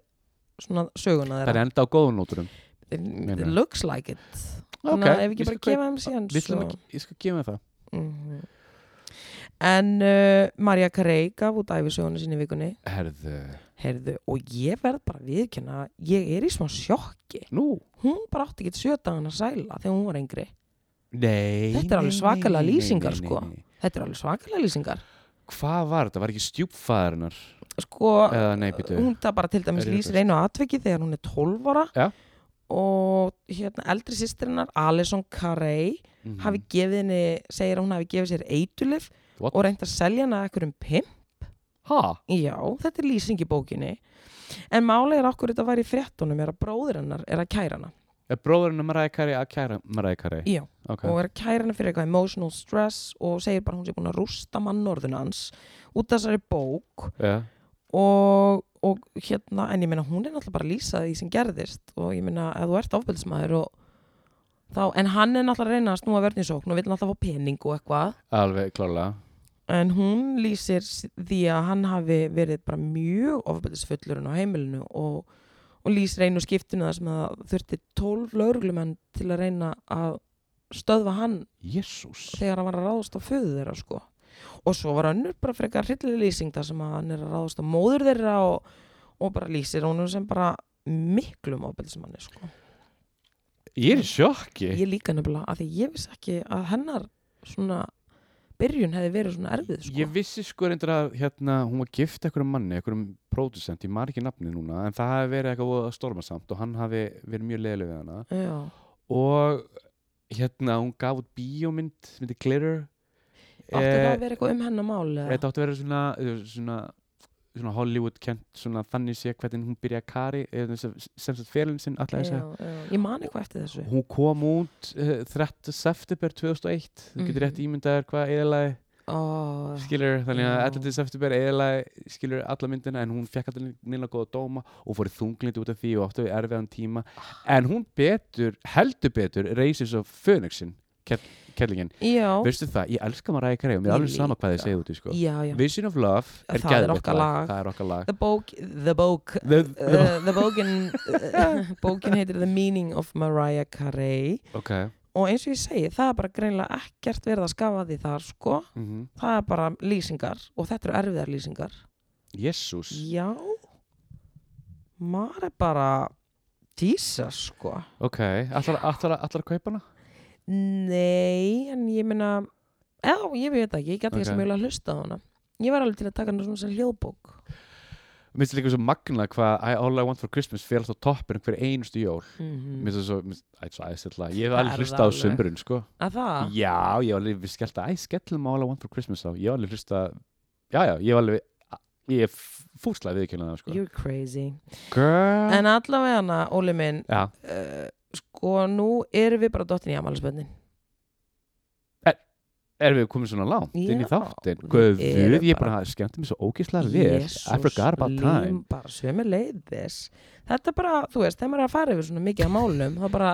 Speaker 1: svona söguna
Speaker 2: Það er
Speaker 1: þeirra
Speaker 2: enda á góðum nóturum
Speaker 1: It
Speaker 2: meina.
Speaker 1: looks like it Þannig
Speaker 2: Ok,
Speaker 1: að ef við
Speaker 2: ég
Speaker 1: ekki bara
Speaker 2: skal kaup-
Speaker 1: gefa þeim síðan
Speaker 2: Við ætlum að- Ég skal gefa mér það
Speaker 1: Mhm. En uh, Marja Carey gaf út æfisögunu sinni í vikunni
Speaker 2: Herðu,
Speaker 1: Heyrðu, og ég verð bara að viðkjöna ég er í smá sjokki
Speaker 2: nú
Speaker 1: hún bara átti ekki sjötaðan að sæla þegar hún var yngri
Speaker 2: Nei
Speaker 1: Þetta er alveg
Speaker 2: nei,
Speaker 1: svakalega
Speaker 2: nei, nei,
Speaker 1: lýsingar,
Speaker 2: nei, nei,
Speaker 1: sko.
Speaker 2: nei.
Speaker 1: þetta er alveg svakalega lýsingar
Speaker 2: Hvað var þetta? Var ekki stjúpfæðarinnar?
Speaker 1: sko,
Speaker 2: Eða nei, býtu
Speaker 1: hún það bara til dæmis
Speaker 2: Er ég
Speaker 1: lýsir
Speaker 2: ruglaður?
Speaker 1: einu atveki þegar hún er 12 ára
Speaker 2: Já.
Speaker 1: og hérna eldri sýstrinnar Alison Carey
Speaker 2: Mhm.
Speaker 1: hafi gefið henni, segir að hún hafi gefið sér eitulif
Speaker 2: What?
Speaker 1: og reynd að selja hana ekkur um pimp
Speaker 2: Ha?
Speaker 1: Já, þetta er lýsing í bókinni en málega er okkur þetta var í fréttunum er að bróðir hennar er að kæra hana
Speaker 2: Er bróðurinn að Mariah Carey að kæra Mariah Carey?
Speaker 1: Já,
Speaker 2: Ok.
Speaker 1: og er að kæra henni fyrir eitthvað emotional stress og segir bara að hún sé búin að rústa mann norðun hans út af þessari bók
Speaker 2: Já.
Speaker 1: og, og hérna, en ég meina hún er náttúrulega bara að lýsa því sem gerðist og ég meina að þú ert ofbeldismæður og þá, en hann er náttúrulega að reyna að snúa vörn í sókn og vil náttúrulega fá pening og eitthvað
Speaker 2: Alveg klálega.
Speaker 1: en hún lýsir s- því að hann hafi verið bara mjög ofbeldisfullurinn á heimilinu og, og lýsir einu skiptinu þar sem að þurfti 12 lauruglumenn til að reyna að stöðva hann
Speaker 2: Jésús.
Speaker 1: þegar hann var að ráðast á föðu þeirra sko. og svo var önnur bara frekar hryllileg lýsing þar sem að hann er að ráðast á móður þeirra og, og bara lýsir honum sem bara miklum ábyrðismanni sko.
Speaker 2: Ég er í sjokki.
Speaker 1: ég líka nefnilega að því ég vissi ekki að hennar svona byrjun hefði verið svona erfið sko.
Speaker 2: Ég vissi sko reyndar að hérna, hún var gift einhverjum manni, einhverjum pródusent, ég maður ekki nafnið núna, en það hafi verið eitthvað voða stormasamt og hann hafi verið mjög leiðileg við hana.
Speaker 1: Já.
Speaker 2: Og hérna, hún gaf út bíómynd sem heitir Glitter.
Speaker 1: átti það
Speaker 2: Eh,
Speaker 1: að vera eitthvað um hennar mál eða?
Speaker 2: Þetta átti að vera svona, eh, svona, svona Hollywood kent, svona þannig sé hvernig hún byrjaði að kari, eh, sem sem sagt félinn sinn, alltaf þess
Speaker 1: já,
Speaker 2: að
Speaker 1: já. ég man eitthvað eftir þessu
Speaker 2: hún kom út uh, 13. september 2001, þú getur
Speaker 1: Mhm.
Speaker 2: rétt ímyndaður hvað eðalagi
Speaker 1: oh,
Speaker 2: skilur, þannig að
Speaker 1: Já.
Speaker 2: 11. september eðalagi skilur alla myndina en hún fekk alltaf nýla góða dóma og fór í þunglindi út af því og áttu við erfiðan tíma en hún betur, heldur betur Races of Phoenixin, kellingin
Speaker 1: já,
Speaker 2: veistu það, ég elska maður ræði og mér
Speaker 1: Ég
Speaker 2: er alveg sama hvað þið
Speaker 1: líka.
Speaker 2: segið út í sko
Speaker 1: já, já.
Speaker 2: Vision of Love er
Speaker 1: Það er
Speaker 2: geðveikt
Speaker 1: okkar lag.
Speaker 2: Það er okkar lag
Speaker 1: The Bók The Bók
Speaker 2: the, the,
Speaker 1: uh, the bókin uh, bókin heitir The Meaning of Mariah Carey
Speaker 2: Ok
Speaker 1: og eins og ég segi, það er bara greinlega ekkert verið að skafa því þar sko
Speaker 2: mm -hmm.
Speaker 1: það er bara lýsingar og þetta eru erfiðar lýsingar
Speaker 2: Jésús
Speaker 1: já maður er bara Jesus sko
Speaker 2: Ok, allar, allar, allar að kaupa hana?
Speaker 1: nei, en ég meina já, ég veit það ekki, ég gæti
Speaker 2: Ok.
Speaker 1: okay. þess að mjögulega hlusta á hana ég var alveg til að taka hana svona sem hljóðbók
Speaker 2: Mér finnst líka svo magna hvað I- All I Want For Christmas fyrir alltaf toppin hver einustu jól
Speaker 1: mm
Speaker 2: Mér finnst það svo, mér finnst- æ, svo æðislega Ég hef
Speaker 1: Það
Speaker 2: alveg
Speaker 1: er
Speaker 2: hlustað á
Speaker 1: það alveg.
Speaker 2: sömbrun, sko
Speaker 1: að það
Speaker 2: Já, ég hef alveg, við skellt að Æ, skellum All I Want For Christmas á Ég hef alveg hlustað Já, já, ég hef alveg Ég hef fúslega viðkjöldan það, sko
Speaker 1: you're crazy
Speaker 2: Girl
Speaker 1: en allavega hana, Óli minn eh,
Speaker 2: Já,
Speaker 1: uh, sko nú erum við bara dottin í amalisbönnin
Speaker 2: erum við komið svona langt inn í
Speaker 1: Já,
Speaker 2: þáttin
Speaker 1: við
Speaker 2: Guð,
Speaker 1: erum
Speaker 2: ég bara skemmti mér svo ógeðslega vel I forgot about time
Speaker 1: lím, bara sömu leiðis þetta er bara, þú veist, þegar maður er að fara yfir svona mikið af málum, þá bara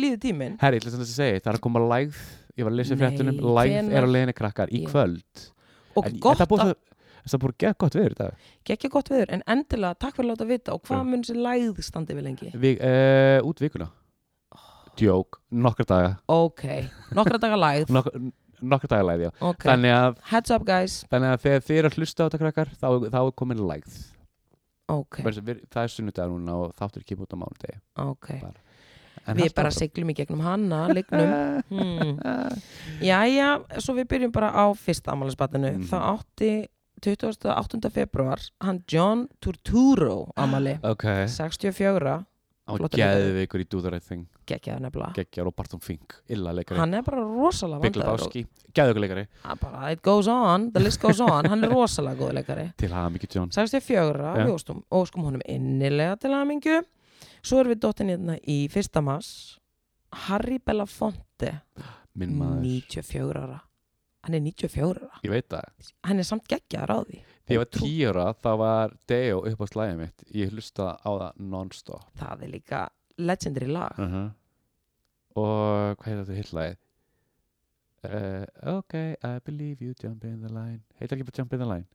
Speaker 1: líður tíminn
Speaker 2: Herri, ég ætla samt að segja, það er að koma lægð Ég var að lesa í
Speaker 1: Nei,
Speaker 2: fréttunum, lægð er á
Speaker 1: hvenær?
Speaker 2: leiðinni krakkar í
Speaker 1: Ég-
Speaker 2: kvöld
Speaker 1: og
Speaker 2: En
Speaker 1: gott
Speaker 2: þetta búið
Speaker 1: að,
Speaker 2: svo- þetta búið að gera gott viður í dag
Speaker 1: gekkja gott viður en endilega, takk fyrir að láta vita og
Speaker 2: Já.
Speaker 1: hvað mun sér læð standi við lengi
Speaker 2: Vi, uh, Út vikuna Djók, nokkra daga
Speaker 1: ok, nokkra daga læð
Speaker 2: nok, Nokkra daga lægð, já
Speaker 1: ok,
Speaker 2: þannig, að,
Speaker 1: heads up guys
Speaker 2: þannig að þegar þið eru að hlusta á þetta krakkar Þá, þá er komin lægð
Speaker 1: ok,
Speaker 2: Bara sem við, Það er sunnudag núna og þáttur kemur út á mánudegi
Speaker 1: ok,
Speaker 2: En
Speaker 1: við bara
Speaker 2: haltu
Speaker 1: um.
Speaker 2: áfram.
Speaker 1: siglum í gegnum hana lignum hmm. jæja, svo við byrjum bara á fyrsta amalisbatinu,
Speaker 2: Mhm.
Speaker 1: þá átti 28. februar, hann John Turturro amali
Speaker 2: Ok,
Speaker 1: 64
Speaker 2: hann
Speaker 1: flottur
Speaker 2: geði við ykkur í Do the Right Thing
Speaker 1: geggjaður nefnilega
Speaker 2: Geggjar og Barton Fink, illa leikari
Speaker 1: hann er bara rosalega
Speaker 2: Big
Speaker 1: vandaður og-
Speaker 2: Lebowski, geði ykkur leikari
Speaker 1: Hann bara, it goes on, the list goes on hann er rosalega góð leikari
Speaker 2: Til hafa mikið John
Speaker 1: 64,
Speaker 2: Já.
Speaker 1: við óstum, óskum honum innilega til hamingju svo erum við dottin hérna í fyrsta mass Harry Belafonte
Speaker 2: Minn maður
Speaker 1: 94 ára hann er 94 ára,
Speaker 2: Ég veit það
Speaker 1: hann er samt geggjaður á því
Speaker 2: Þegar ég var
Speaker 1: Ótrú-
Speaker 2: tíu ára, þá var Deo upp á slæðið mitt. Ég hlustaði á það non-stop.
Speaker 1: það er líka legendary lag
Speaker 2: Og hvað heitir þetta hittlæðið? Uh, ok, I believe you, jump in the line. Heitir ekki bara jump in the line?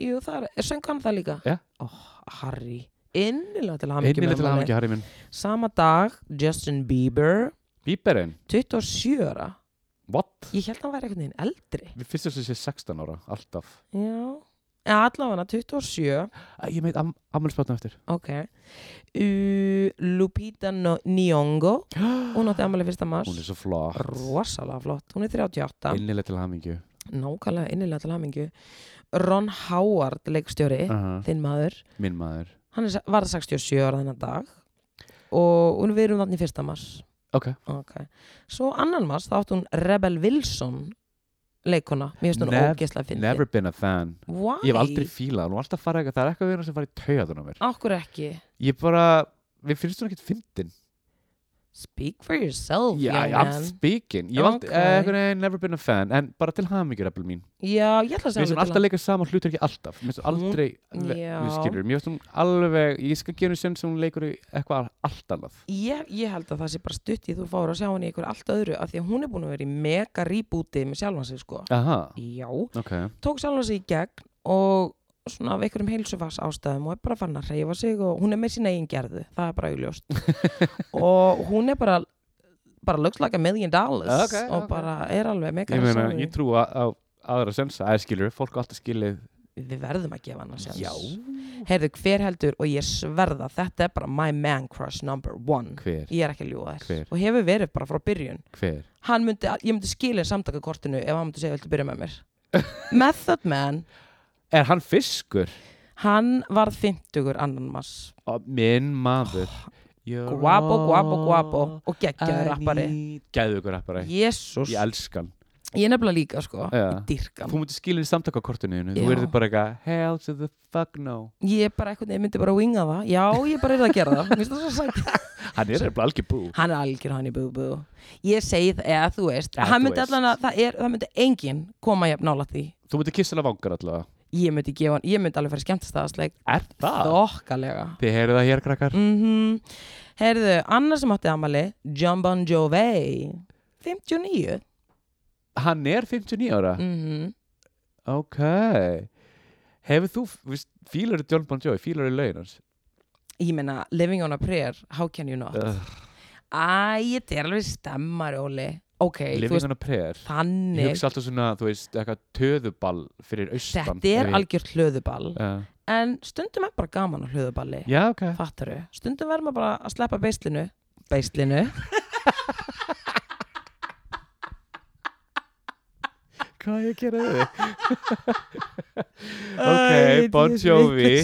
Speaker 1: Jú, það er, söng hann það líka
Speaker 2: Já.
Speaker 1: oh, Harry, innilega til hamingju
Speaker 2: Einnig
Speaker 1: með
Speaker 2: litil
Speaker 1: afmælið.
Speaker 2: hamingi, Harry minn.
Speaker 1: sama dag, Justin Bieber
Speaker 2: Bíberinn?
Speaker 1: 27 ára
Speaker 2: What?
Speaker 1: Ég held að hann væri einhvern veginn eldri.
Speaker 2: Við fyrst þess að sé 16 ára, alltaf.
Speaker 1: Já. Eða allavega 27,
Speaker 2: Æ, Ég meit am ammælspatna eftir.
Speaker 1: ok. Uh, Lupita no Nyong'o, hún átti ammali fyrsta mars.
Speaker 2: Hún er svo flott.
Speaker 1: Rosalega flott, hún er 38.
Speaker 2: Einnig litil hamingi.
Speaker 1: Nákvæmlega innilega til hamingju. Ron Howard,
Speaker 2: Eh?
Speaker 1: leikstjóri,
Speaker 2: Ah.
Speaker 1: þinn maður,
Speaker 2: Minn maður.
Speaker 1: hann er, var 67 ára þennan dag og hún við erum þarna í fyrsta mars.
Speaker 2: Ok.
Speaker 1: Ok. Svo annan mars þá átti hún Rebel Wilson, leikona. Mér finnst hún
Speaker 2: Nev-
Speaker 1: ógeðslega fyndin.
Speaker 2: Never been a fan.
Speaker 1: Why?
Speaker 2: Ég hef aldrei fílað. Hún er alltaf farið eitthvað. Það er eitthvað við hérna sem farið í taugatunum mér.
Speaker 1: Akkur ekki.
Speaker 2: Ég bara, við finnst hún ekkert fyndin.
Speaker 1: Speak for yourself,
Speaker 2: Já,
Speaker 1: young
Speaker 2: I'm
Speaker 1: man.
Speaker 2: speaking Ég
Speaker 1: Ok.
Speaker 2: vald, okay. uh, never been a fan En bara til hamingjur, eppil mín
Speaker 1: Já, ég ætla að
Speaker 2: Við
Speaker 1: segja
Speaker 2: sem alltaf leika saman hlutur ekki alltaf Við sem
Speaker 1: Hún-
Speaker 2: aldrei,
Speaker 1: Mhm. Já.
Speaker 2: við skilur Mér finnst hún alveg, ég skal gera henni sinn sem hún leikur í eitthvað allt annað
Speaker 1: Ég, ég held að það sé bara stutt í þú fáur að sjá henni í ykkur allt öðru af því að hún er búin að vera í mega rýbúti með sjálfan sig, sko.
Speaker 2: Aha,
Speaker 1: Já,
Speaker 2: ok
Speaker 1: tók sjálfan sig í gegn og svona af einhverjum heilsufars ástæðum og er bara fann að hreyfa sig og hún er með sína eigin gerðu, það er bara augljóst. og hún er bara bara looks like a million dollars
Speaker 2: Ok,
Speaker 1: og
Speaker 2: ok.
Speaker 1: bara er alveg mega
Speaker 2: Ég meina,
Speaker 1: sjálfri.
Speaker 2: ég trú á á aðra sensa Það skilur, fólk á alltaf skilið
Speaker 1: við verðum að gefa hann að sjans
Speaker 2: Já
Speaker 1: heyrðu hver heldur og ég sverða þetta er bara my man crush number one
Speaker 2: Hver,
Speaker 1: ég er ekki að ljúga
Speaker 2: Hver?
Speaker 1: þess og hefur verið bara frá byrjun
Speaker 2: hver
Speaker 1: hann myndi, ég myndi skilja samtakakortinu ef hann myndi segja viltu byrja með mér Method Man,
Speaker 2: Er hann fiskur?
Speaker 1: hann var 50 annan mass
Speaker 2: Ó, Minn maður You're
Speaker 1: Oh. guapo, guapo,
Speaker 2: all
Speaker 1: guapo og
Speaker 2: I
Speaker 1: geggjaður rappari
Speaker 2: need. Geðveikur rappari
Speaker 1: Jésús,
Speaker 2: Ég elskan
Speaker 1: ég er nefnilega líka sko
Speaker 2: Já.
Speaker 1: dyrkan,
Speaker 2: Þú mútið skilja í samtakakortinu Þú
Speaker 1: Já.
Speaker 2: verður bara eitthvað Hell to the fuck no
Speaker 1: ég er bara eitthvað ég myndi bara winga það, já ég bara er að gera það Mér finnst það svo sætt.
Speaker 2: Hann er bara algjör bú
Speaker 1: hann er algjör hann í búbú ég segi það, eða þú veist
Speaker 2: Eða
Speaker 1: hann
Speaker 2: þú
Speaker 1: myndi
Speaker 2: veist.
Speaker 1: allan að það, er, það myndi enginn koma jafn nála því
Speaker 2: Þú mútið kissa hana vangar allavega
Speaker 1: ég myndi gefa hann, ég myndi alveg fara skemmtistæðasleik
Speaker 2: Er það?
Speaker 1: þokkalega
Speaker 2: Þið heyrðu það hér krakkar
Speaker 1: mm heyrðu, annar sem átti amali John Bon Jovi 59
Speaker 2: Hann er 59 ára
Speaker 1: mm
Speaker 2: Ok Hefur þú víst, Fílar er John Bon Jovi Fílar er laun hans
Speaker 1: ég meina, living on a prayer how can you not
Speaker 2: Ugh,
Speaker 1: æ, þetta er alveg stemmar, Óli ok, þú
Speaker 2: Living
Speaker 1: veist,
Speaker 2: on a prayer Ég
Speaker 1: þannig
Speaker 2: hugsa alltaf svona Þú veist Eitthvað töðuball Fyrir austan
Speaker 1: þetta er
Speaker 2: Ef ég-
Speaker 1: algjört hlöðuball
Speaker 2: um Já.
Speaker 1: en stundum er bara gaman á hlöðuballi
Speaker 2: Já ok
Speaker 1: Fattaru, stundum verður maður bara að sleppa beislinu Beislinu
Speaker 2: Hvað ég gera þau? Ok, Bon Jovi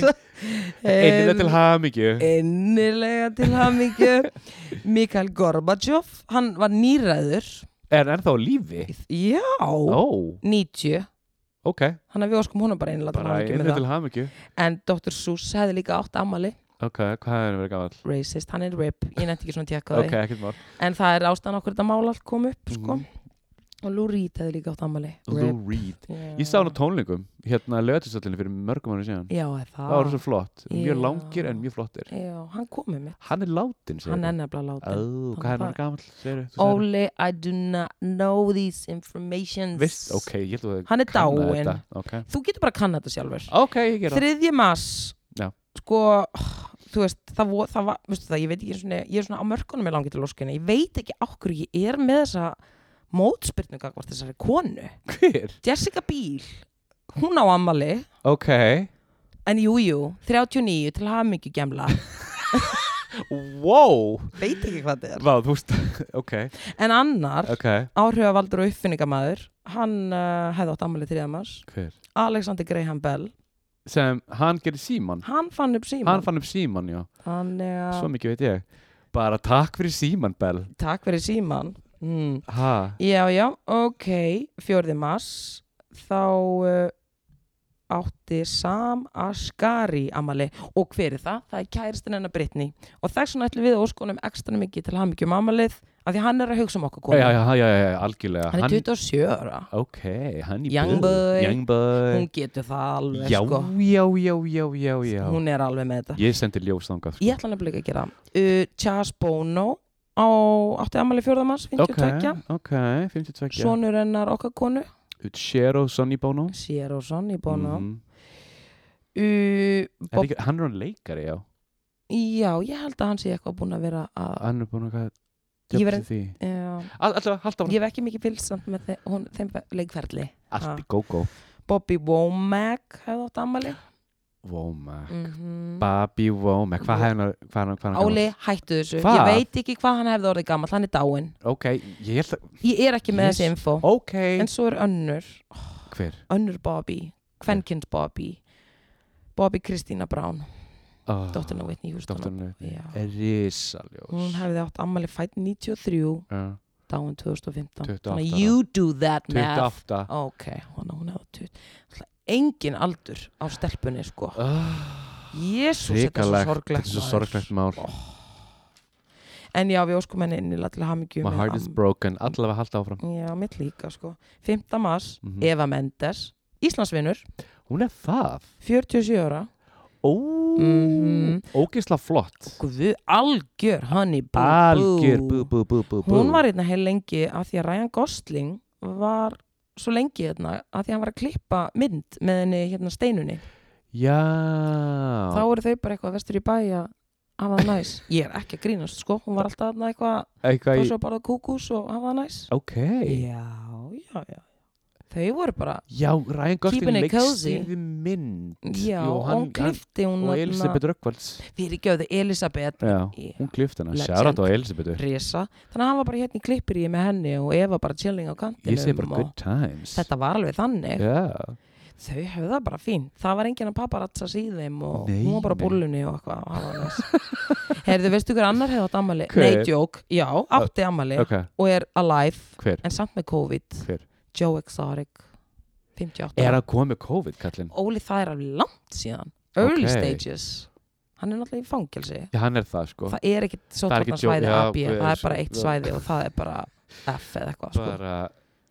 Speaker 1: Um,
Speaker 2: Einnig til hamingju
Speaker 1: eh, Innilega til hamingju Mikael Gorbachev Hann var nýræður
Speaker 2: Er hann ennþá á lífi?
Speaker 1: Já,
Speaker 2: Ó
Speaker 1: 90
Speaker 2: Ok
Speaker 1: Þannig að við óskum honum bara einlega til
Speaker 2: bara
Speaker 1: hamingju
Speaker 2: einnig
Speaker 1: með
Speaker 2: til
Speaker 1: það
Speaker 2: hamingju
Speaker 1: En Dr. Seuss hefði líka átt ammali
Speaker 2: ok, hvað er verið gammal
Speaker 1: Racist, hann er rip Ég nefndi ekki svona tjekka á því
Speaker 2: ok, ekkert mál
Speaker 1: En það er ástæðan okkur þetta mál allt kom upp sko. og Lou Reed hefði líka átt ammali
Speaker 2: Mhm. Lou Reed Ég sá hann á tónleikum hérna lögatisallinu fyrir mörgum ára síðan
Speaker 1: Já, er það
Speaker 2: Það var svo flott, mjög
Speaker 1: Já.
Speaker 2: langir en mjög flottir
Speaker 1: Já, hann komið mitt
Speaker 2: Hann er látin, segir
Speaker 1: Hann er nefnilega látið
Speaker 2: Ó, hvað er hann gamall, segir
Speaker 1: Óli, I do not know these informations
Speaker 2: Vist, ok, ég held að það
Speaker 1: Hann er
Speaker 2: kanna
Speaker 1: dáinn.
Speaker 2: þetta. Ok,
Speaker 1: Þú getur bara að kanna þetta sjálfur
Speaker 2: ok, ég gera það
Speaker 1: Þriðji mass
Speaker 2: Já.
Speaker 1: Sko, þú veist, það, vo, það var Veistu það, ég veit ekki svona Ég er svona á mörkunum með langið til óskina Ég veit ekki á hverju ég er með þessa mótspyrnu gagvart þessari konu
Speaker 2: Hver?
Speaker 1: Jessica Biel, hún á ammali
Speaker 2: Ok
Speaker 1: En jú, jú, 39 til hamingju gemla
Speaker 2: Wow
Speaker 1: Veit ekki hvað þetta
Speaker 2: Vá, þú veist, ok,
Speaker 1: En annar,
Speaker 2: ok
Speaker 1: áhrifavaldur og uppfinningamæður Hann uh, hefði átt ammali 3. mars
Speaker 2: Hver?
Speaker 1: Alexander Graham Bell
Speaker 2: Sem, hann gerir síman
Speaker 1: Hann fann upp síman
Speaker 2: Hann fann upp síman, já
Speaker 1: Hann,
Speaker 2: Svo
Speaker 1: uh,
Speaker 2: mikið veit ég Bara takk fyrir síman, Bell
Speaker 1: Takk fyrir síman mm.
Speaker 2: Ha,
Speaker 1: Já, já, ok, 4. mars þá uh, átti Sam Asghari amali og hver er það? Það er kæristin hennar Brittany og þess vegna ætlum við að óskonum ekstra mikið til hamingjum amalið af því hann er að hugsa um okkur konu
Speaker 2: já, já, já, já, já, algjörlega
Speaker 1: hann er 27 ára,
Speaker 2: Ok, hann í
Speaker 1: Young
Speaker 2: böð.
Speaker 1: boy.
Speaker 2: Young boy
Speaker 1: hún getur það alveg
Speaker 2: Já,
Speaker 1: sko,
Speaker 2: já, já, já, já, já
Speaker 1: hún er alveg með þetta
Speaker 2: Ég sendi ljós þangað sko.
Speaker 1: Ég ætla nefnilega ekki að gera það. uh, Chas Bono á átti amalið 4. mars, 52
Speaker 2: Ok, ok, 52
Speaker 1: Sonur hennar okkar konu,
Speaker 2: Utsjero Sonny Bono
Speaker 1: Sierrosson í Bono
Speaker 2: Mhm.
Speaker 1: uh,
Speaker 2: Er
Speaker 1: Bob
Speaker 2: ekki, Hann er hann leikari, já
Speaker 1: Já, ég held að hann sé eitthvað búin að vera að
Speaker 2: Hann er búin að
Speaker 1: Ég
Speaker 2: djöfn
Speaker 1: verð-
Speaker 2: til því
Speaker 1: já,
Speaker 2: All- Alltaf, halda
Speaker 1: Ég hef ekki mikið fylgsamt með þe hún, þeim fe- leikferli
Speaker 2: hann
Speaker 1: Ha.
Speaker 2: Allt í gógó
Speaker 1: Bobby Womack hefði átt ammali
Speaker 2: Womack
Speaker 1: mm
Speaker 2: Bobby Womack Hvað hefði hann Hvað hann hvað hann-
Speaker 1: Áli, hættu þessu
Speaker 2: Hvað?
Speaker 1: Ég veit ekki hvað hann hefði orðið gammal, hann er dáinn
Speaker 2: Ok, ég held að
Speaker 1: Ég er ekki með
Speaker 2: Yes.
Speaker 1: þessi info
Speaker 2: Ok
Speaker 1: En svo er önnur,
Speaker 2: Hver?
Speaker 1: önnur Bobby Kvenkins Bobby Bobby Kristína Brown,
Speaker 2: Oh,
Speaker 1: dóttirna Whitney Houston
Speaker 2: Dóttirna
Speaker 1: Já. Hún
Speaker 2: Risaljós Ah,
Speaker 1: hefði átt ammali fætt 93
Speaker 2: Já.
Speaker 1: dáinn 2015 Þannig
Speaker 2: 28
Speaker 1: að you do that math
Speaker 2: 28
Speaker 1: Ok, hana, hún hefði tutt Engin aldur á stelpunni sko Jésús, þetta er svo
Speaker 2: Ríkalegt Þetta
Speaker 1: sorglegt
Speaker 2: er Ah, svo
Speaker 1: maður.
Speaker 2: sorglegt mál
Speaker 1: En já, við óskum henni innilega til hamingju
Speaker 2: My
Speaker 1: með
Speaker 2: heart is
Speaker 1: am-
Speaker 2: broken Allavega halda áfram
Speaker 1: Já, mitt líka sko 5. mars,
Speaker 2: Mhm.
Speaker 1: Eva Mendes Íslandsvinnur,
Speaker 2: Hún er það
Speaker 1: 47 ára
Speaker 2: Ó
Speaker 1: Mhm.
Speaker 2: Ógisla flott
Speaker 1: Guð, algjör, honey bú,
Speaker 2: Algjör bú, bú, bú, bú, bú.
Speaker 1: Hún var hérna heil lengi af því að Ryan Gosling var svo lengi hérna af því að hann var að klippa mynd með henni hérna steinunni
Speaker 2: Já
Speaker 1: þá eru þau bara eitthvað vestur í bæja af það næs, ég er ekki að grínast sko hún var alltaf þarna eitthvað
Speaker 2: Eitthvað
Speaker 1: fór
Speaker 2: í
Speaker 1: svo bara kúkus og hafa það næs
Speaker 2: Ok
Speaker 1: já, já, já þau voru bara,
Speaker 2: Já, Ryan Gosling
Speaker 1: Keeping it cozy.
Speaker 2: leikstýrði mynd
Speaker 1: já,
Speaker 2: Jú,
Speaker 1: og hún klifti hún
Speaker 2: Og Elisabeth Rökkvalds
Speaker 1: fyrir gjöðu Elisabeth
Speaker 2: Já,
Speaker 1: Já.
Speaker 2: hún klifti hana
Speaker 1: Legend.
Speaker 2: Sjárat á Elisabeth
Speaker 1: Risa, þannig að hann var bara hérna í klippir í með henni og Eva bara chilling á kantinum
Speaker 2: Ég segi bara
Speaker 1: og
Speaker 2: good times
Speaker 1: þetta var alveg þannig
Speaker 2: Já,
Speaker 1: þau höfðu það bara fín, það var enginn að paparazza síðum og
Speaker 2: Nei,
Speaker 1: hún var bara á
Speaker 2: nei.
Speaker 1: búllunni og eitthvað og hafa það næs heyrðu, veistu hver annar hefði átt ammali?
Speaker 2: Hver?
Speaker 1: Nei, joke, já, átti ammali
Speaker 2: ok,
Speaker 1: og er alive
Speaker 2: hver?
Speaker 1: en samt með COVID
Speaker 2: Hver?
Speaker 1: Joe Exotic 58
Speaker 2: Er að koma með COVID, kallinn?
Speaker 1: Óli það er alveg langt síðan early
Speaker 2: Ok.
Speaker 1: stages hann er náttúrulega í fangelsi
Speaker 2: Já, hann er það, sko
Speaker 1: það er ekkit svo
Speaker 2: Það er ekki
Speaker 1: þarna
Speaker 2: Joe-
Speaker 1: svæði
Speaker 2: já, sko.
Speaker 1: AB
Speaker 2: guð,
Speaker 1: það er bara
Speaker 2: svo-
Speaker 1: eitt svæði og það er bara F eða eitthvað sko.
Speaker 2: Bara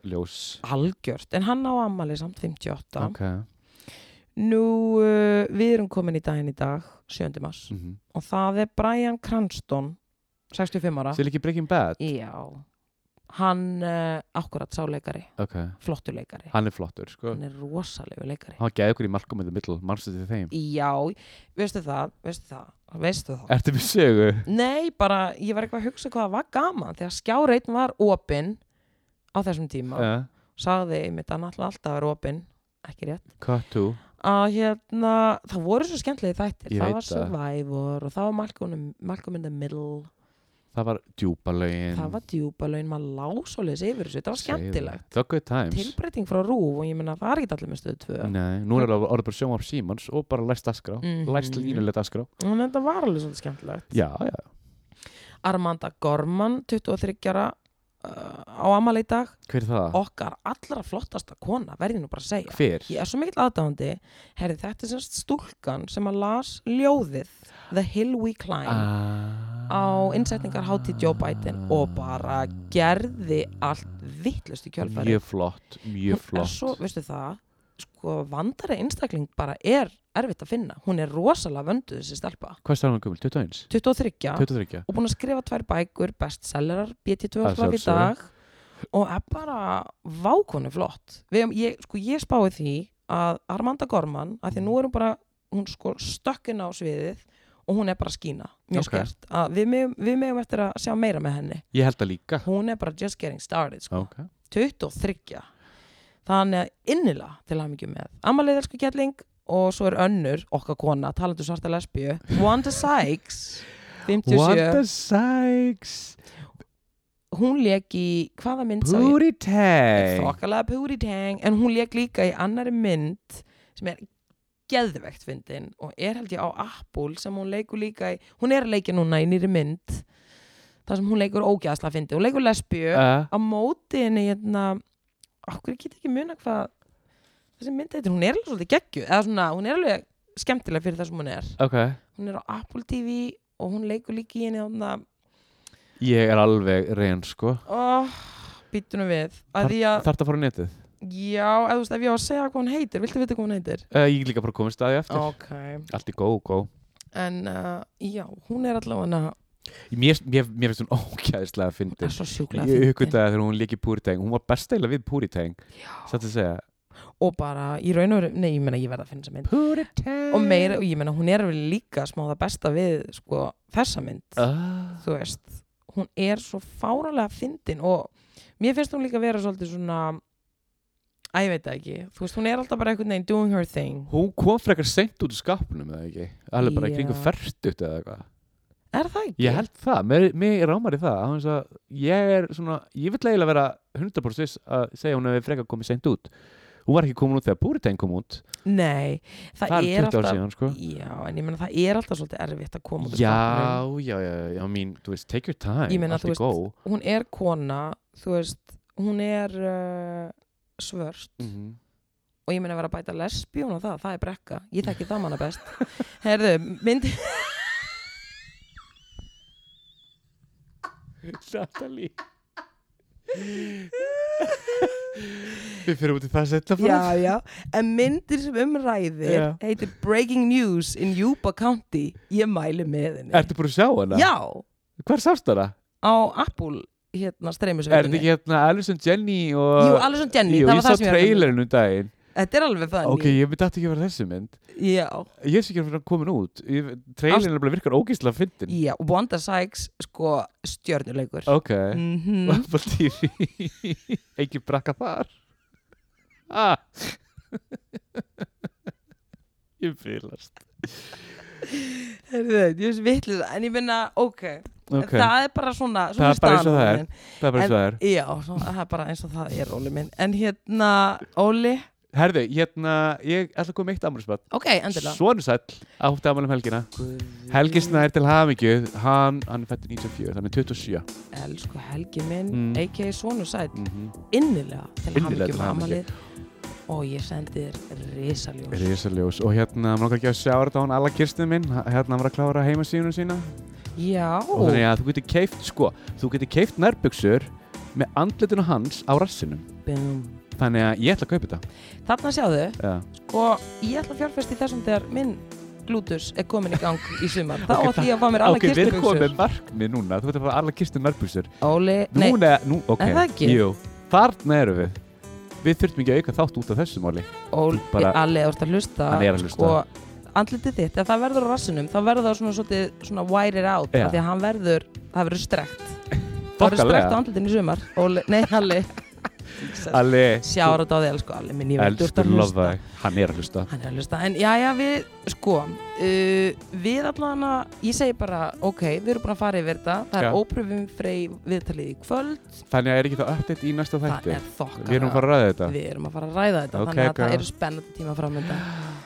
Speaker 2: ljós
Speaker 1: algjört, en hann á ammali samt 58
Speaker 2: Ok
Speaker 1: nú uh, við erum komin í daginn í dag 7. mars
Speaker 2: mhm.
Speaker 1: og það er Brian Cranston 65 ára
Speaker 2: Sér ekki Breaking Bad?
Speaker 1: já hann uh, akkurat sáleikari,
Speaker 2: Ok,
Speaker 1: flottuleikari
Speaker 2: hann er flottur, sko
Speaker 1: hann er rosalegu leikari
Speaker 2: Hann gæði okkur í Malcolm in the Middle, manstu til þeim
Speaker 1: Já, veistu það, veistu það, veistu það.
Speaker 2: Ertu með sögu?
Speaker 1: Nei, bara, ég var eitthvað að hugsa hvað það var gaman þegar skjáreitn var opinn á þessum tíma.
Speaker 2: Já,
Speaker 1: Sagði einmitt að náttúrulega alltaf er opinn, ekki rétt.
Speaker 2: Cut to
Speaker 1: Að hérna, það voru svo skemmtlegi þættir.
Speaker 2: Ég
Speaker 1: það
Speaker 2: veit
Speaker 1: var
Speaker 2: það.
Speaker 1: Survivor og það var Malcolm, Malcolm in the Middle,
Speaker 2: Það var djúpalögin
Speaker 1: það var djúbalögin, maður lásolis yfir þessu, þetta var skemmtilegt.
Speaker 2: Það var good times
Speaker 1: Tilbreyting frá rúf og ég meina það er ekki allir með stöðu tvö.
Speaker 2: Nei, nú er það orðið bara sjóma af Simons og bara læst askrá,
Speaker 1: Mhm.
Speaker 2: læst línulega askrá
Speaker 1: En þetta var alveg svolítið skemmtilegt.
Speaker 2: Já, já,
Speaker 1: Armanda Gorman, 23 ára uh, á amal í dag
Speaker 2: Hver er það?
Speaker 1: okkar allra flottasta kona verði nú bara að segja
Speaker 2: Hver?
Speaker 1: ég er svo mikill aðdáðandi herri þetta er semst stúlkan sem að las ljóðið The Hill We Climb á
Speaker 2: Ah.
Speaker 1: innsetningar Joe Biden og bara gerði allt vittlust í kjölfæri
Speaker 2: Mjög flott,
Speaker 1: hún
Speaker 2: mjög
Speaker 1: er
Speaker 2: flott
Speaker 1: svo, veistu það sko vandari einstakling bara er erfitt að finna, hún er rosalega vönduð þessi stelpa,
Speaker 2: Hvað er það gömul? 21?
Speaker 1: 23
Speaker 2: 23?
Speaker 1: og búin að skrifa tvær bækur, bestsellerar BT2
Speaker 2: Að
Speaker 1: flaf í
Speaker 2: sjálfsögðu.
Speaker 1: dag og er bara vákonu flott Við, ég, sko, ég spái því að Armanda Gorman, að því að nú er hún bara hún sko stökkin á sviðið og hún er bara að skína, mjög
Speaker 2: Ok.
Speaker 1: skert að við, megum- við megum eftir að sjá meira með henni
Speaker 2: Ég held það líka
Speaker 1: hún er bara just getting started sko.
Speaker 2: Ok
Speaker 1: 23 þannig að innilega til að mikið með Amalið elsku Gjalling og svo er önnur okkar kona, talandu svarta lesbíu Wanda Sykes 57,
Speaker 2: Wanda Sykes
Speaker 1: hún leik í hvaða mynd sá ég?
Speaker 2: Booty Tang
Speaker 1: Þokkalega Puri Tang en hún leik líka í annari mynd sem er geðvegt fyndin og er held ég á Apple sem hún leikur líka í, hún er að leika núna í nýri mynd þar sem hún leikur ógæðsla fyndi, hún leikur lesbíu
Speaker 2: Uh,
Speaker 1: á móti henni hérna okkur get ekki muna hvað þessi mynd heitir, hún er alveg svolítið geggju eða svona, hún er alveg skemmtilega fyrir það sem hún er
Speaker 2: ok
Speaker 1: hún er á Apple TV og hún leikur líka í henni þarna,
Speaker 2: Ég er alveg reyn sko
Speaker 1: oh, býtunum við að því að,
Speaker 2: Þarf það að fara á netið?
Speaker 1: já, eða þú veist, ef ég á að segja hvað hún heitir, viltu vita hvað hún heitir?
Speaker 2: Uh, ég er líka bara komið staði eftir
Speaker 1: ok,
Speaker 2: Allt í góð, góð
Speaker 1: en uh, já, hún er allavega
Speaker 2: Mér, mér, mér finnst hún ógæðislega
Speaker 1: hún er
Speaker 2: fyndin
Speaker 1: svo sjúklega
Speaker 2: Ég
Speaker 1: fyndin.
Speaker 2: hugvitaði þegar hún líki Puri Tang Hún var best eila við Puri Tang Satt að segja
Speaker 1: og bara, í raun og veru, nei, ég meina, ég verð að finna þessa mynd
Speaker 2: Puri Tang
Speaker 1: og meira, og ég meina, hún er alveg líka smá það besta við, sko, þessa mynd
Speaker 2: uh,
Speaker 1: þú veist, hún er svo fáralega fyndin og mér finnst hún líka vera svolítið svona að ég veit það ekki, þú veist, hún er alltaf bara einhvern veginn doing her thing,
Speaker 2: Hún kom frekar seint út úr skapnum eða ekki Alveg bara í
Speaker 1: Já.
Speaker 2: kringum fertut eða eitthvað
Speaker 1: er það ekki?
Speaker 2: Ég held það, mér, mér rámar í það án þess að ég er svona, ég vil eiginlega vera 100% viss að segja hún hefur frekar komið seint út hún var ekki komin út þegar Puritan kom út
Speaker 1: Nei, það,
Speaker 2: það
Speaker 1: er
Speaker 2: er 20 ár
Speaker 1: alltaf
Speaker 2: síðan sko
Speaker 1: Já, en ég meina það er alltaf svolítið erfitt að koma út úr skápnum.
Speaker 2: Já, já, já, já, I mean, þú veist, take your time
Speaker 1: Ég meina,
Speaker 2: allt
Speaker 1: þú
Speaker 2: er
Speaker 1: veist,
Speaker 2: góð
Speaker 1: Hún er kona, þú veist, hún er uh, svört
Speaker 2: mm -hmm.
Speaker 1: og ég meina að vera að bæta lesbíun og það, það er brekka ég þekki það manna best Herðu, myndi
Speaker 2: Natalie Við fyrir út í það setna frá
Speaker 1: Já, já, en myndir sem umræðir
Speaker 2: Já.
Speaker 1: heitir Breaking News in Yuba County ég mæli með henni
Speaker 2: Ertu búin að sjá hana?
Speaker 1: Já,
Speaker 2: Hvar sást hana?
Speaker 1: á Apple hérna
Speaker 2: Er þetta
Speaker 1: streymisveitinni
Speaker 2: ekki hérna Alison Jenny og
Speaker 1: Jú, Alison Jenny,
Speaker 2: Jú,
Speaker 1: það
Speaker 2: ég
Speaker 1: var
Speaker 2: sá
Speaker 1: það sem ég var að
Speaker 2: trailerinn um daginn
Speaker 1: Þetta er alveg þannig
Speaker 2: Ok, ég myndi aftur ekki að vera þessi mynd
Speaker 1: Já,
Speaker 2: Ég er sikker fyrir að komin út Ég- Trailin er bara virkar ógísla fyndin
Speaker 1: já, Wanda Sykes sko stjörnuleikur
Speaker 2: Ok
Speaker 1: Mhm.
Speaker 2: Apple TV Ekki brakka þar ah. Ég fylast
Speaker 1: Heyrðu, Þetta er svo vitlis En ég finna, ok,
Speaker 2: Ok, það,
Speaker 1: það er bara svona, svona
Speaker 2: Það er bara eins og það er.
Speaker 1: staðan orðin.
Speaker 2: er bara eins og það er
Speaker 1: Já, svona, það er bara eins og það er Óli minn En hérna, Óli
Speaker 2: Herðu, hérna, ég ætla að koma með eitt amrúsbad
Speaker 1: Ok, endilega
Speaker 2: Svonu sæll, átti afmæli um helgina Helgi Snær til hamingju Hann, hann er fættur 94, hann er 27
Speaker 1: Elsku Helgi minn,
Speaker 2: Mm.
Speaker 1: a.k.a. Sónu Sætt
Speaker 2: mm -hmm.
Speaker 1: innilega til hamingju
Speaker 2: Innilega til
Speaker 1: með
Speaker 2: hamingju.
Speaker 1: amalið og ég sendi þér risaljós
Speaker 2: Rísaljós Og hérna, maður ekki að sjá þetta á hann Alla kirstið minn, hérna hann var að klára heimasíðunum sína
Speaker 1: Já,
Speaker 2: og þannig að þú getur keift sko, þú getur keift nærbuksur með andlitinu hans á rassinum
Speaker 1: bum
Speaker 2: þannig að ég ætla að kaupa þetta
Speaker 1: Þarna sjáðu,
Speaker 2: ja.
Speaker 1: og ég ætla að fjárfesti þessum þegar minn glútus er komin í gang í sumar þá
Speaker 2: Ok,
Speaker 1: átt ég að fá mér alla
Speaker 2: ok, við erum komið
Speaker 1: kistubuxur
Speaker 2: með markmið núna þú getur að fara alla kistu nærbuksur
Speaker 1: Óli, nei,
Speaker 2: núna, nú, ok,
Speaker 1: Er það ekki?
Speaker 2: jú þarna erum við við þurftum ekki að auka þátt út af þessu máli
Speaker 1: Óli,
Speaker 2: bara-
Speaker 1: Alli, þú ert að hlusta
Speaker 2: Hann er að hlusta.
Speaker 1: sko, andlitið þitt, ef það verður á rassinum þá verður það svona, svona, svona wire it out
Speaker 2: Já.
Speaker 1: af því að hann verður, það verður strekt það verður strekt á
Speaker 2: þokkalega,
Speaker 1: andlitinu í sumar Óli, nei, Alli
Speaker 2: Alli
Speaker 1: sjára á því elsku Alli minn, ég veit þú ert
Speaker 2: elstur
Speaker 1: að hlusta
Speaker 2: lofaði, hann er að hlusta
Speaker 1: hann er að hlusta, en já, já, við sko, uh, við allan að ég segi bara, ok, við erum búin að fara yfir þetta það
Speaker 2: Já.
Speaker 1: er ópröfum frey viðtalið í kvöld
Speaker 2: þannig að er ekki það update í næsta
Speaker 1: það
Speaker 2: þætti
Speaker 1: er þokkar
Speaker 2: við erum að fara að ræða þetta
Speaker 1: við erum að fara að ræða þetta
Speaker 2: Ok,
Speaker 1: þannig að
Speaker 2: girl.
Speaker 1: það eru spennandi tíma framönda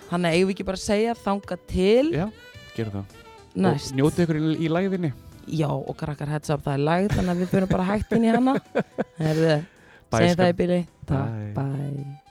Speaker 1: þannig að eigum við ekki bara að segja þanga til
Speaker 2: já, gerum það
Speaker 1: næst
Speaker 2: og njótið ykkur í, í læðinni
Speaker 1: já og krakkar heads up það er lægð þannig að við fyrir bara hægt inn í hana herðu,
Speaker 2: Bye,
Speaker 1: segjum
Speaker 2: skrap-
Speaker 1: það í bíli takk,
Speaker 2: Bye.
Speaker 1: bye